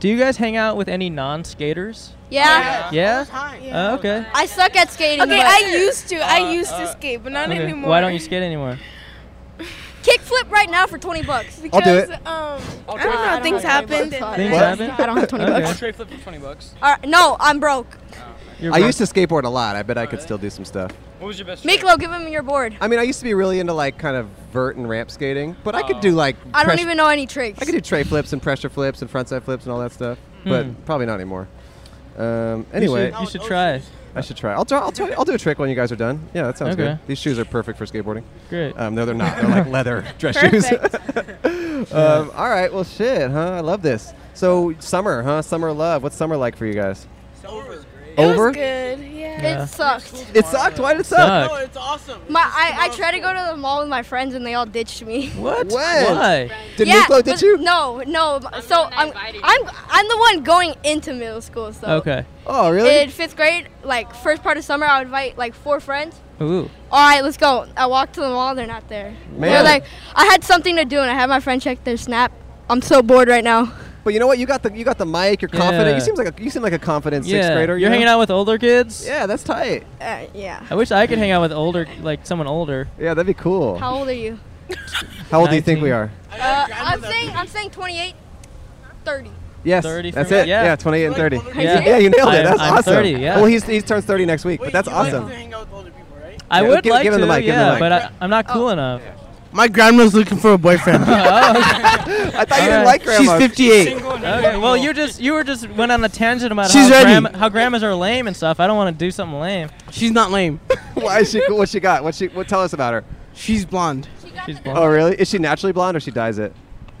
Speaker 4: Do you guys hang out with any non-skaters?
Speaker 7: Yeah.
Speaker 4: Yeah.
Speaker 8: Time.
Speaker 4: Oh, okay.
Speaker 7: I suck at skating.
Speaker 10: Okay,
Speaker 7: but-
Speaker 10: I used to. I
Speaker 4: Uh,
Speaker 10: used to
Speaker 4: uh,
Speaker 10: skate, but not
Speaker 4: Okay.
Speaker 10: anymore.
Speaker 4: Why don't you skate anymore?
Speaker 7: kickflip right now for twenty bucks.
Speaker 10: Because,
Speaker 2: I'll do it.
Speaker 10: Um, I
Speaker 7: Uh,
Speaker 10: don't
Speaker 7: I
Speaker 10: know.
Speaker 7: don't
Speaker 10: Things
Speaker 7: have twenty
Speaker 10: happened.
Speaker 7: bucks.
Speaker 10: and
Speaker 4: Things
Speaker 10: then-
Speaker 4: happen?
Speaker 7: I don't have twenty
Speaker 4: Okay.
Speaker 7: bucks.
Speaker 4: I'll
Speaker 8: Straight flip for 20 bucks.
Speaker 7: All right, no, I'm broke.
Speaker 4: You're
Speaker 2: I
Speaker 4: broke.
Speaker 2: used to skateboard a lot. I bet I could still do some stuff.
Speaker 8: What was your best?
Speaker 7: Miklo, give him your board.
Speaker 2: I mean, I used to be really into like kind of vert and ramp skating, but I could
Speaker 4: Oh.
Speaker 2: do like
Speaker 7: I don't
Speaker 2: press-
Speaker 7: even know any tricks.
Speaker 2: I could do tray flips and pressure flips and frontside flips and all that stuff, but probably not anymore. Um, anyway,
Speaker 4: Hmm. You should, you should try. it.
Speaker 2: I should try. I'll try. I'll try. I'll do a trick when you guys are done. Yeah, that sounds
Speaker 4: Okay.
Speaker 2: good. These shoes are perfect for skateboarding.
Speaker 4: Great.
Speaker 2: Um, no, they're not. They're like leather dress shoes. um, all right. Well, shit, huh? I love this. So summer, huh? Summer love. What's summer like for you guys?
Speaker 10: It was
Speaker 2: Over.
Speaker 10: good. Yeah.
Speaker 4: Yeah.
Speaker 7: It sucked.
Speaker 2: It sucked. Why did it suck?
Speaker 4: Suck.
Speaker 8: No, it's awesome.
Speaker 7: My, I, I tried to go to the mall with my friends and they all ditched me.
Speaker 4: What?
Speaker 2: When?
Speaker 4: Why?
Speaker 2: Did
Speaker 7: yeah,
Speaker 2: Miklo? Did
Speaker 7: but
Speaker 2: you?
Speaker 7: No, no. so
Speaker 9: one that
Speaker 7: I'm,
Speaker 9: invited you.
Speaker 7: I'm, I'm the one going into middle school. So
Speaker 4: Okay.
Speaker 2: Oh, really?
Speaker 7: in fifth grade, like first part of summer, I would invite like four friends.
Speaker 4: Ooh.
Speaker 7: All right, let's go. I walk to the mall. They're not there.
Speaker 2: Man.
Speaker 7: They're like, I had something to do, and I had my friend check their snap. I'm so bored right now.
Speaker 2: But you know what? You got the you got the mic. You're confident.
Speaker 4: Yeah.
Speaker 2: You seem like a you seem like a confident sixth
Speaker 4: yeah.
Speaker 2: grader. you
Speaker 4: You're
Speaker 2: know?
Speaker 4: hanging out with older kids.
Speaker 2: Yeah, that's tight.
Speaker 7: Uh, yeah.
Speaker 4: I wish I could hang out with older, like someone older.
Speaker 2: Yeah, that'd be cool.
Speaker 7: How old are you?
Speaker 2: How old do you think we
Speaker 4: 19.
Speaker 2: are?
Speaker 7: Uh, I'm saying I'm saying 28, 30.
Speaker 2: Yes,
Speaker 4: 30
Speaker 2: that's
Speaker 4: for me.
Speaker 2: it.
Speaker 4: Yeah.
Speaker 2: Yeah. 28 and 30.
Speaker 4: Yeah.
Speaker 2: Yeah, you nailed it.
Speaker 4: I'm-
Speaker 2: That's
Speaker 4: I'm
Speaker 2: awesome.
Speaker 4: 30, yeah.
Speaker 2: Well, he's, he turns 30 next week, but that's
Speaker 8: you like
Speaker 2: awesome.
Speaker 8: to hang out with older people, right?
Speaker 4: I
Speaker 2: Yeah,
Speaker 4: would
Speaker 2: give-
Speaker 4: like
Speaker 2: give him
Speaker 4: to,
Speaker 2: the mic, give him
Speaker 4: yeah,
Speaker 2: the mic.
Speaker 4: but I, I'm not
Speaker 2: Oh.
Speaker 4: cool enough. Oh,
Speaker 8: My grandma's looking for a boyfriend.
Speaker 2: I thought you
Speaker 4: Alright.
Speaker 2: didn't like grandma.
Speaker 8: 58.
Speaker 4: Okay, well you just you were just went on a tangent about
Speaker 8: She's
Speaker 4: how,
Speaker 8: ready.
Speaker 4: grandma, how grandmas are lame and stuff. I don't want to do something lame.
Speaker 8: She's not lame.
Speaker 2: Why is she cool? What she got? What she? What? Tell us about her.
Speaker 8: She's blonde.
Speaker 4: She's
Speaker 2: Oh, really? Is she naturally blonde or she dyes it?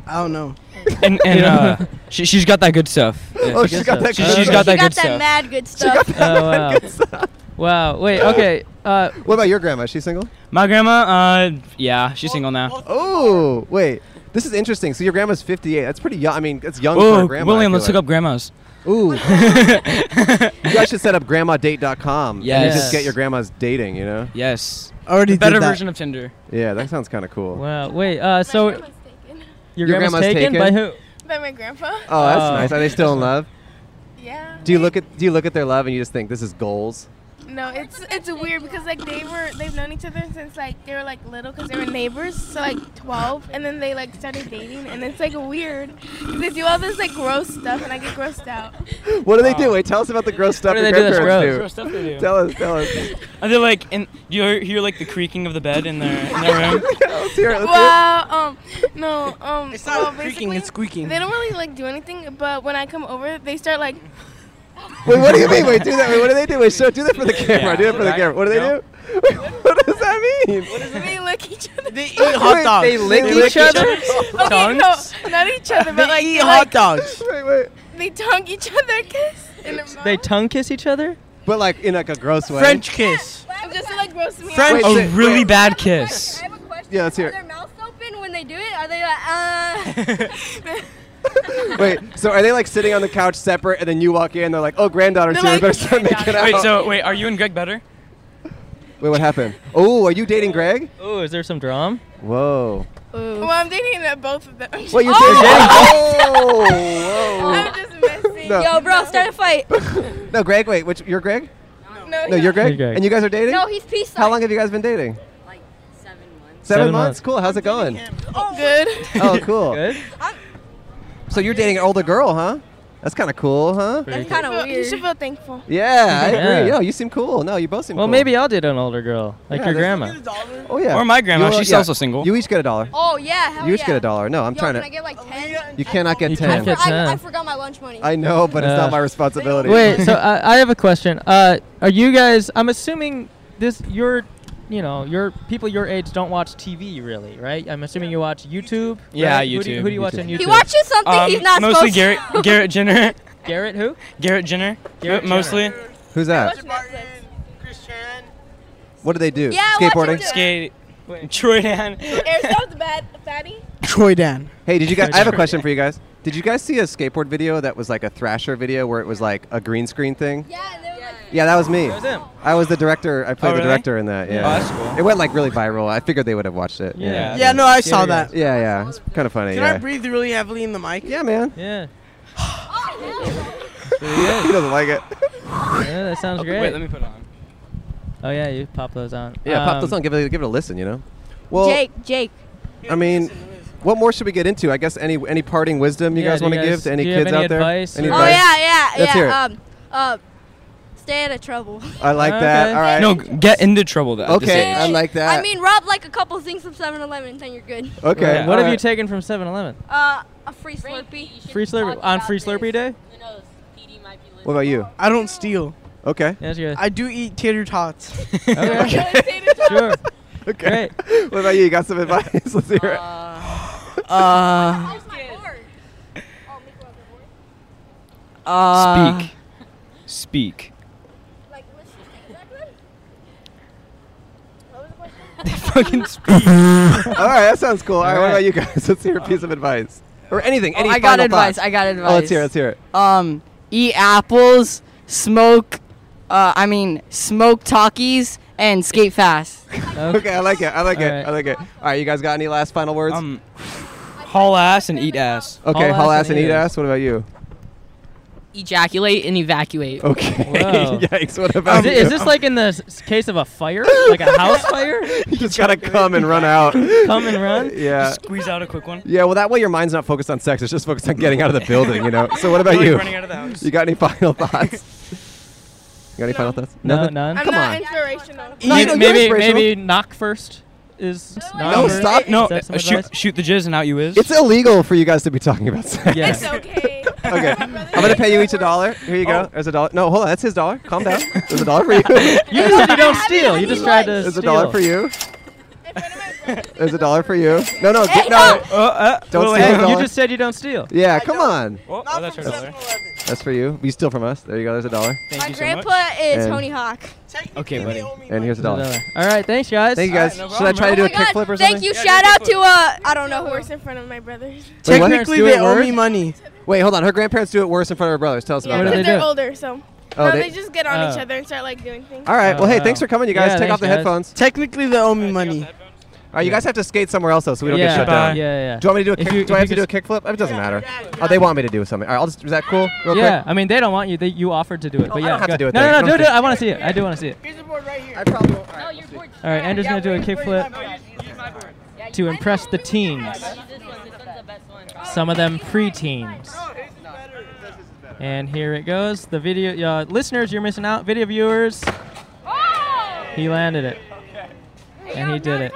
Speaker 8: I don't know.
Speaker 11: and, and uh, she, she's got that good stuff. Yeah.
Speaker 2: oh,
Speaker 4: guess
Speaker 2: she got
Speaker 4: so.
Speaker 2: that.
Speaker 11: She-
Speaker 2: good
Speaker 4: she's
Speaker 11: she's
Speaker 2: shit.
Speaker 11: got
Speaker 7: She
Speaker 11: that
Speaker 7: got
Speaker 11: good
Speaker 7: that
Speaker 11: stuff.
Speaker 7: mad good stuff.
Speaker 4: Oh, wow. wow. Wait. Okay. Uh,
Speaker 2: What about your grandma? Is she single?
Speaker 11: My grandma, uh, yeah, she's single now.
Speaker 2: Oh, wait. This is interesting. So your grandma's 58. That's pretty young. I mean, that's young for
Speaker 11: Oh,
Speaker 2: a grandma.
Speaker 11: William,
Speaker 2: I
Speaker 11: let's
Speaker 2: feel
Speaker 11: look up grandmas.
Speaker 2: like. Ooh. You guys should set up grandmadate.com. Yeah. And you
Speaker 11: Yes.
Speaker 2: just get your grandma's dating, you know?
Speaker 11: Yes,
Speaker 8: Already
Speaker 11: the
Speaker 8: did
Speaker 11: better
Speaker 8: that.
Speaker 11: version of Tinder.
Speaker 2: Yeah, that sounds kind of cool.
Speaker 4: wow. Wait. Uh, so
Speaker 10: My grandma's taken
Speaker 4: your,
Speaker 2: Your
Speaker 4: grandma's,
Speaker 2: grandma's
Speaker 4: taken,
Speaker 2: taken?
Speaker 4: by who?
Speaker 10: By my grandpa.
Speaker 2: Oh, that's
Speaker 4: Oh.
Speaker 2: nice. Are they still in love?
Speaker 10: Yeah.
Speaker 2: Do you look at do you look at their love and you just think this is goals?
Speaker 10: No, it's it's weird because like they were they've known each other since like they were like little because they were neighbors, so like twelve, and then they like started dating, and it's like weird. They do all this like gross stuff, and I get grossed out.
Speaker 2: What do they do? Wait, tell us about the gross stuff
Speaker 4: do
Speaker 2: your
Speaker 4: they do that's
Speaker 2: grandparents do. Tell us, tell us.
Speaker 11: Are they like in? Do you hear like the creaking of the bed in their in their room?
Speaker 2: let's hear it. Let's hear
Speaker 10: Well, um, no, um,
Speaker 8: It's
Speaker 10: well,
Speaker 8: not creaking,
Speaker 10: basically,
Speaker 8: it's squeaking.
Speaker 10: They don't really like do anything, but when I come over, they start like
Speaker 2: it. Wait, what do you mean? Wait, do that. Wait, what do they do? Wait, show, do that for the camera. do that for the camera. What do they
Speaker 11: No.
Speaker 2: do? Wait, what does that mean?
Speaker 10: they lick each other.
Speaker 8: They eat hot
Speaker 2: Wait,
Speaker 8: dogs.
Speaker 2: They lick
Speaker 8: They
Speaker 2: each other?
Speaker 10: Okay, no, not each other, but like
Speaker 8: They eat
Speaker 10: they,
Speaker 8: hot
Speaker 10: like,
Speaker 8: dogs.
Speaker 2: Wait, wait.
Speaker 10: they tongue each other, kiss. In their
Speaker 4: They
Speaker 10: mouth.
Speaker 4: tongue kiss each other.
Speaker 2: But like in like a gross way.
Speaker 8: French kiss.
Speaker 10: I'm just like grossing me
Speaker 8: French-
Speaker 10: out.
Speaker 2: Wait,
Speaker 11: a
Speaker 2: say-
Speaker 11: really
Speaker 2: wait.
Speaker 11: bad kiss.
Speaker 7: I have a question.
Speaker 2: Yeah, let's hear
Speaker 7: Are
Speaker 2: it.
Speaker 7: their mouths open when they do it? Are they like, uh?
Speaker 2: Wait, so are they like sitting on the couch separate and then you walk in they're like, oh, granddaughter's
Speaker 10: They're like-
Speaker 2: here. we better start making out.
Speaker 11: Wait, so wait, are you and Greg better?
Speaker 2: Wait, what happened? Oh, are you dating Greg?
Speaker 4: Oh, is there some drama?
Speaker 2: Whoa.
Speaker 10: Well, I'm dating uh, both of them.
Speaker 2: What you're dating?
Speaker 10: Oh!
Speaker 2: Oh,
Speaker 10: I'm just messing.
Speaker 2: No.
Speaker 7: Yo, bro, start a fight.
Speaker 2: whoa. No, Greg. Wait, which you're Greg?
Speaker 10: No,
Speaker 2: No, you're Greg.
Speaker 4: You're Greg.
Speaker 2: And you guys are dating?
Speaker 7: no, he's peace
Speaker 2: How long have you guys been dating? Like seven months. Seven,
Speaker 4: Seven
Speaker 2: months.
Speaker 4: months.
Speaker 2: Cool. How's it going?
Speaker 10: good.
Speaker 2: Oh, cool.
Speaker 4: Good.
Speaker 2: So you're dating an older girl, huh? That's kind of cool, huh?
Speaker 7: That's kind
Speaker 10: Feel-
Speaker 7: of
Speaker 10: You should
Speaker 7: weird.
Speaker 10: feel thankful.
Speaker 2: Yeah, I
Speaker 4: Yeah.
Speaker 2: agree. No, you seem cool. No, you both seem
Speaker 4: Well,
Speaker 2: cool.
Speaker 4: maybe I'll date an older girl, like
Speaker 2: Yeah,
Speaker 4: your
Speaker 2: that's-
Speaker 4: grandma.
Speaker 2: Oh yeah.
Speaker 11: Or my grandma, she's
Speaker 2: yeah.
Speaker 11: also single.
Speaker 2: You each get a dollar.
Speaker 7: Oh yeah, hell
Speaker 2: you each
Speaker 7: yeah.
Speaker 2: get a dollar. No, I'm
Speaker 7: Yo,
Speaker 2: trying
Speaker 7: can
Speaker 2: to.
Speaker 7: I get like ten?
Speaker 2: you cannot get
Speaker 4: You
Speaker 2: ten.
Speaker 4: can't
Speaker 7: I,
Speaker 4: get
Speaker 7: for- I, I
Speaker 4: ten.
Speaker 7: forgot my lunch money.
Speaker 2: I know, but it's
Speaker 4: Yeah.
Speaker 2: not my responsibility.
Speaker 4: Uh, Wait, so uh, I, I have a question. Uh, are you guys? I'm assuming this your, you know, your people your age don't watch TV really, right? I'm assuming you watch YouTube.
Speaker 11: Yeah,
Speaker 4: right? Who do you,
Speaker 11: YouTube, Um,
Speaker 4: who do you watch
Speaker 2: YouTube.
Speaker 4: on YouTube?
Speaker 7: he watches something he's not
Speaker 11: mostly
Speaker 7: supposed
Speaker 11: Garrett
Speaker 7: to.
Speaker 11: Garrett Jenner.
Speaker 4: Garrett. Who?
Speaker 11: Garrett Jenner.
Speaker 4: Garrett Jenner.
Speaker 11: mostly
Speaker 2: Who's that?
Speaker 10: Netflix.
Speaker 8: Christian.
Speaker 2: What do they do?
Speaker 7: Yeah, I watch
Speaker 2: Skateboarding.
Speaker 7: him do it.
Speaker 11: skate. Troy Dan.
Speaker 10: Aristotle the bad fatty.
Speaker 8: Troy Dan.
Speaker 2: Hey, did you guys? I have a question for you guys. Did you guys see a skateboard video that was like a Thrasher video where it was like a green screen thing?
Speaker 7: Yeah, and they were like,
Speaker 2: Yeah, that was me.
Speaker 4: That was him.
Speaker 2: I was the director. I played
Speaker 11: Oh,
Speaker 2: the
Speaker 11: really?
Speaker 2: director in that. Yeah,
Speaker 11: Oh, that's cool.
Speaker 2: it went like really viral. I figured they would have watched it.
Speaker 4: Yeah.
Speaker 2: Yeah,
Speaker 8: Yeah, no, I saw
Speaker 4: Yeah,
Speaker 8: that.
Speaker 2: yeah, yeah. It's kind of funny.
Speaker 8: Can
Speaker 2: yeah.
Speaker 8: I breathe really heavily in the mic?
Speaker 2: yeah, man.
Speaker 4: Yeah.
Speaker 7: oh,
Speaker 4: he
Speaker 2: doesn't like it.
Speaker 4: yeah, that sounds
Speaker 11: Okay,
Speaker 4: great.
Speaker 11: Wait, let me put it on.
Speaker 4: Oh yeah, you pop those on.
Speaker 2: Yeah, pop
Speaker 4: Um,
Speaker 2: this on. Give it, give it a listen. You know. Well,
Speaker 7: Jake, Jake.
Speaker 2: I mean, what more should we get into? I guess any any parting wisdom you
Speaker 4: Yeah,
Speaker 2: guys
Speaker 4: do
Speaker 2: want to
Speaker 4: you
Speaker 2: give
Speaker 4: guys-
Speaker 2: to any
Speaker 4: do you have
Speaker 2: kids
Speaker 4: any
Speaker 2: out there?
Speaker 4: advice
Speaker 2: Any
Speaker 4: or-
Speaker 7: Oh
Speaker 2: advice?
Speaker 7: yeah, yeah, yeah.
Speaker 2: Let's hear it.
Speaker 7: Um, uh, stay out of trouble.
Speaker 2: I like that. All right.
Speaker 11: No, g- get into trouble though. at this
Speaker 2: Okay,
Speaker 11: age.
Speaker 2: I like that.
Speaker 7: I mean, rob like a couple things from 7-Eleven, and then you're good.
Speaker 2: okay.
Speaker 4: Yeah, What have you
Speaker 2: alright.
Speaker 4: taken from 7-Eleven?
Speaker 7: Uh, a free Slurpee.
Speaker 4: Free Slurpee on Free Slurpee Day?
Speaker 2: What about you?
Speaker 8: I don't steal.
Speaker 2: Okay.
Speaker 4: Yeah, that's good.
Speaker 8: I do eat tater tots.
Speaker 6: um,
Speaker 4: Okay. sure.
Speaker 2: Okay. what about you? You got some advice? Let's hear it.
Speaker 12: Uh, uh,
Speaker 11: Speak. Speak. Fucking speak.
Speaker 2: All right, that sounds cool. All right, what about you guys? Let's hear a piece of advice or anything.
Speaker 12: Oh,
Speaker 2: Any
Speaker 12: I got
Speaker 2: final
Speaker 12: advice,
Speaker 2: thoughts.
Speaker 12: I got
Speaker 2: Oh, let's hear. it,
Speaker 12: advice.
Speaker 2: Let's hear it.
Speaker 12: um, eat apples, smoke, uh, I mean, smoke talkies, and skate fast.
Speaker 2: Okay, I like it. I like it.
Speaker 4: Alright.
Speaker 2: I like it. All right, you guys got any last final words?
Speaker 11: Um, haul ass and eat ass.
Speaker 2: okay, haul ass and eat ass. What about you?
Speaker 9: Ejaculate and evacuate.
Speaker 2: Okay.
Speaker 4: Whoa.
Speaker 2: Yikes. What
Speaker 4: Is,
Speaker 2: about
Speaker 4: it,
Speaker 2: you?
Speaker 4: is this like in the s- s- case of a fire, like a house fire?
Speaker 2: you just gotta come and run out.
Speaker 4: Come and run.
Speaker 2: Yeah.
Speaker 11: Just squeeze out a quick one.
Speaker 2: Yeah, well, that way your mind's not focused on sex. It's just focused on getting out of the building, you know? So, what about
Speaker 11: Like
Speaker 2: you?
Speaker 11: running out of the house.
Speaker 2: You got any final thoughts? You got any final thoughts?
Speaker 4: No,
Speaker 2: Nothing?
Speaker 4: none.
Speaker 10: I'm
Speaker 2: Come
Speaker 10: not
Speaker 2: on.
Speaker 10: inspirational.
Speaker 2: No,
Speaker 4: May-
Speaker 2: no, you're
Speaker 4: maybe
Speaker 2: inspirational.
Speaker 4: maybe knock first is knock
Speaker 2: No,
Speaker 4: first.
Speaker 2: stop.
Speaker 11: No,
Speaker 4: Is that some
Speaker 11: uh, shoot,
Speaker 4: advice?
Speaker 11: shoot the jizz and out you is.
Speaker 2: It's illegal for you guys to be talking about sex.
Speaker 4: Yeah.
Speaker 10: It's okay.
Speaker 2: Okay. I'm going to pay you each a dollar. Here you go. There's a dollar. No, hold on. That's his dollar. Calm down. There's a dollar for you.
Speaker 4: Oh. You just said you don't steal. You just tried to
Speaker 2: There's
Speaker 4: steal.
Speaker 2: a dollar for you. There's a dollar for you. No, no, get, no.
Speaker 11: Uh,
Speaker 4: oh!
Speaker 11: uh,
Speaker 2: Don't
Speaker 11: wait,
Speaker 2: steal
Speaker 11: wait.
Speaker 2: the dollar.
Speaker 4: You just said you don't steal.
Speaker 2: Yeah, come on.
Speaker 11: Oh, oh, that's her dollar.
Speaker 2: That's for you. You steal from us. There you go. There's a dollar.
Speaker 11: Thank
Speaker 7: My
Speaker 11: you so
Speaker 7: grandpa
Speaker 11: much.
Speaker 7: is
Speaker 2: And-
Speaker 7: Tony Hawk.
Speaker 11: Okay, buddy.
Speaker 2: And here's a dollar.
Speaker 4: All right, thanks guys.
Speaker 2: Thank you guys.
Speaker 11: Alright, no
Speaker 2: Should I try to
Speaker 11: problem,
Speaker 2: do
Speaker 7: Oh
Speaker 2: a
Speaker 7: my God,
Speaker 2: kickflip or something?
Speaker 7: Thank you.
Speaker 11: Yeah, do
Speaker 7: Shout
Speaker 11: a
Speaker 7: out
Speaker 11: kickflip.
Speaker 7: to uh, I don't
Speaker 10: No
Speaker 7: know who.
Speaker 10: worse in front of my brothers.
Speaker 2: Wait, what?
Speaker 8: Technically,
Speaker 4: Do it
Speaker 8: they owe
Speaker 4: worse?
Speaker 8: me money.
Speaker 2: Wait, hold on. Her grandparents do it worse in front of her brothers. Tell us
Speaker 10: Yeah,
Speaker 4: do
Speaker 2: about that.
Speaker 4: they
Speaker 10: because they're
Speaker 4: do?
Speaker 10: older, so.
Speaker 2: Oh,
Speaker 10: no,
Speaker 2: they- Uh.
Speaker 10: they, just get on each
Speaker 4: Oh.
Speaker 10: other and start like doing things.
Speaker 2: All right. Well, hey,
Speaker 4: Oh,
Speaker 2: thanks for coming, you
Speaker 4: wow.
Speaker 2: guys.
Speaker 4: Yeah,
Speaker 2: Take
Speaker 4: thanks,
Speaker 2: off the
Speaker 4: guys.
Speaker 2: headphones.
Speaker 8: Technically, they owe me money.
Speaker 2: All right, you guys have to skate somewhere else though, so we don't get
Speaker 4: Yeah,
Speaker 2: shut down.
Speaker 11: bye.
Speaker 4: yeah, yeah.
Speaker 2: Do you want me to do a
Speaker 4: If
Speaker 2: kick?
Speaker 4: you-
Speaker 2: do I have
Speaker 4: if
Speaker 2: to
Speaker 4: you
Speaker 2: do a kickflip? It doesn't matter. Oh, they want me to do something. All right, I'll just, is that cool? Real
Speaker 4: Yeah,
Speaker 2: quick.
Speaker 4: I mean they don't want you. They, you offered to do it, but
Speaker 2: Oh, I
Speaker 4: yeah.
Speaker 2: don't have
Speaker 4: go-
Speaker 2: to do it
Speaker 4: No,
Speaker 2: then.
Speaker 4: no,
Speaker 2: You
Speaker 4: no,
Speaker 2: don't
Speaker 4: do it.
Speaker 2: have to-
Speaker 4: I want to see it. I do want to see it.
Speaker 8: Here's the board right here.
Speaker 2: I probably. All right, we'll see.
Speaker 4: All right, Andrew's gonna do a kickflip to impress the teens. Some of them pre-teens. And here it goes. The video uh, listeners, you're missing out. Video viewers, he landed it, and he did it.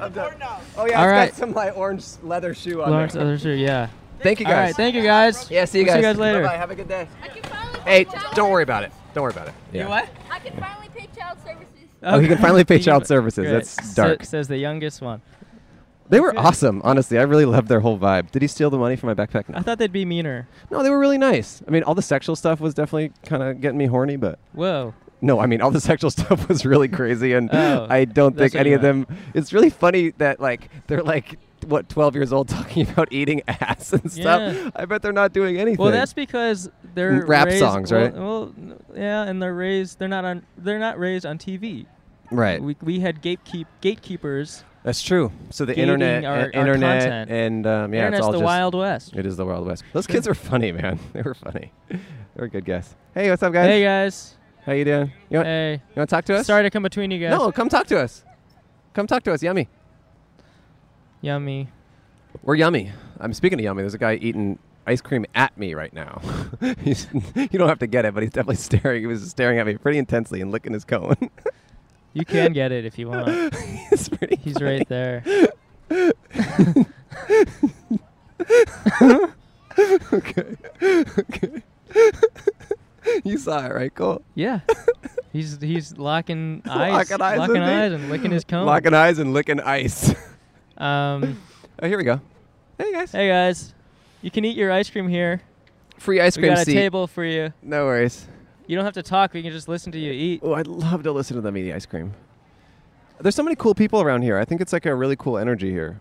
Speaker 2: I'm done. Oh yeah,
Speaker 4: All
Speaker 2: it's
Speaker 4: right.
Speaker 2: got some like orange leather shoe on.
Speaker 4: Lawrence,
Speaker 2: there.
Speaker 4: other shoe, yeah.
Speaker 2: Thank you
Speaker 4: All
Speaker 2: guys.
Speaker 4: right, thank you guys.
Speaker 2: Yeah, see you
Speaker 4: We'll
Speaker 2: guys.
Speaker 4: see you guys later.
Speaker 2: Bye. Have a good day. Hey, don't worry about it. Don't worry about it. Yeah.
Speaker 11: what?
Speaker 7: I can finally pay child services.
Speaker 2: Oh, he can finally pay
Speaker 4: You can-
Speaker 2: child services.
Speaker 4: Great.
Speaker 2: That's
Speaker 4: Sa-
Speaker 2: dark.
Speaker 4: says the youngest one.
Speaker 2: They were awesome, honestly. I really loved their whole vibe. Did he steal the money from my backpack?
Speaker 4: I
Speaker 2: No.
Speaker 4: thought they'd be meaner.
Speaker 2: No, they were really nice. I mean, all the sexual stuff was definitely kind of getting me horny, but
Speaker 4: Whoa.
Speaker 2: No, I mean all the sexual stuff was really crazy, and
Speaker 4: Oh,
Speaker 2: I don't
Speaker 4: that's
Speaker 2: think
Speaker 4: what
Speaker 2: any
Speaker 4: you
Speaker 2: of them. It's really funny that like they're like what twelve years old talking about eating ass and stuff.
Speaker 4: Yeah.
Speaker 2: I bet they're not doing anything.
Speaker 4: Well, that's because they're
Speaker 2: Mm, rap
Speaker 4: raised-
Speaker 2: songs,
Speaker 4: well-
Speaker 2: right?
Speaker 4: Well, n- yeah, and they're raised. They're not on. They're not raised on TV.
Speaker 2: right.
Speaker 4: We, we had gatekeep gatekeepers.
Speaker 2: That's true. So the
Speaker 4: Gating
Speaker 2: internet,
Speaker 4: our-
Speaker 2: and
Speaker 4: our
Speaker 2: internet,
Speaker 4: content.
Speaker 2: and um, yeah,
Speaker 4: Internet's
Speaker 2: it's all
Speaker 4: the
Speaker 2: just
Speaker 4: Wild West.
Speaker 2: it is the Wild West. Those kids are funny, man. They were funny. they were good guys. Hey, what's up, guys?
Speaker 4: Hey guys.
Speaker 2: How you doing? You want,
Speaker 4: Hey.
Speaker 2: you want to talk to us?
Speaker 4: Sorry to come between you guys.
Speaker 2: No, come talk to us. Come talk to us. Yummy.
Speaker 4: Yummy.
Speaker 2: We're yummy. I'm speaking to yummy. There's a guy eating ice cream at me right now. he's, you don't have to get it, but he's definitely staring. He was staring at me pretty intensely and licking his cone.
Speaker 4: You can get it if you want.
Speaker 2: it's pretty.
Speaker 4: He's
Speaker 2: funny.
Speaker 4: right there.
Speaker 2: okay. okay. you saw it, right? Cool.
Speaker 4: Yeah. He's he's locking eyes,
Speaker 2: Locking eyes with
Speaker 4: locking
Speaker 2: me.
Speaker 4: eyes and licking his cone.
Speaker 2: Locking eyes and licking ice.
Speaker 4: Um.
Speaker 2: oh, here we go. Hey guys.
Speaker 4: Hey guys, you can eat your ice cream here.
Speaker 2: Free ice
Speaker 4: We
Speaker 2: cream
Speaker 4: got a
Speaker 2: seat.
Speaker 4: table for you.
Speaker 2: No worries.
Speaker 4: You don't have to talk. We can just listen to you eat.
Speaker 2: Oh, I'd love to listen to them eat ice cream. There's so many cool people around here. I think it's like a really cool energy here.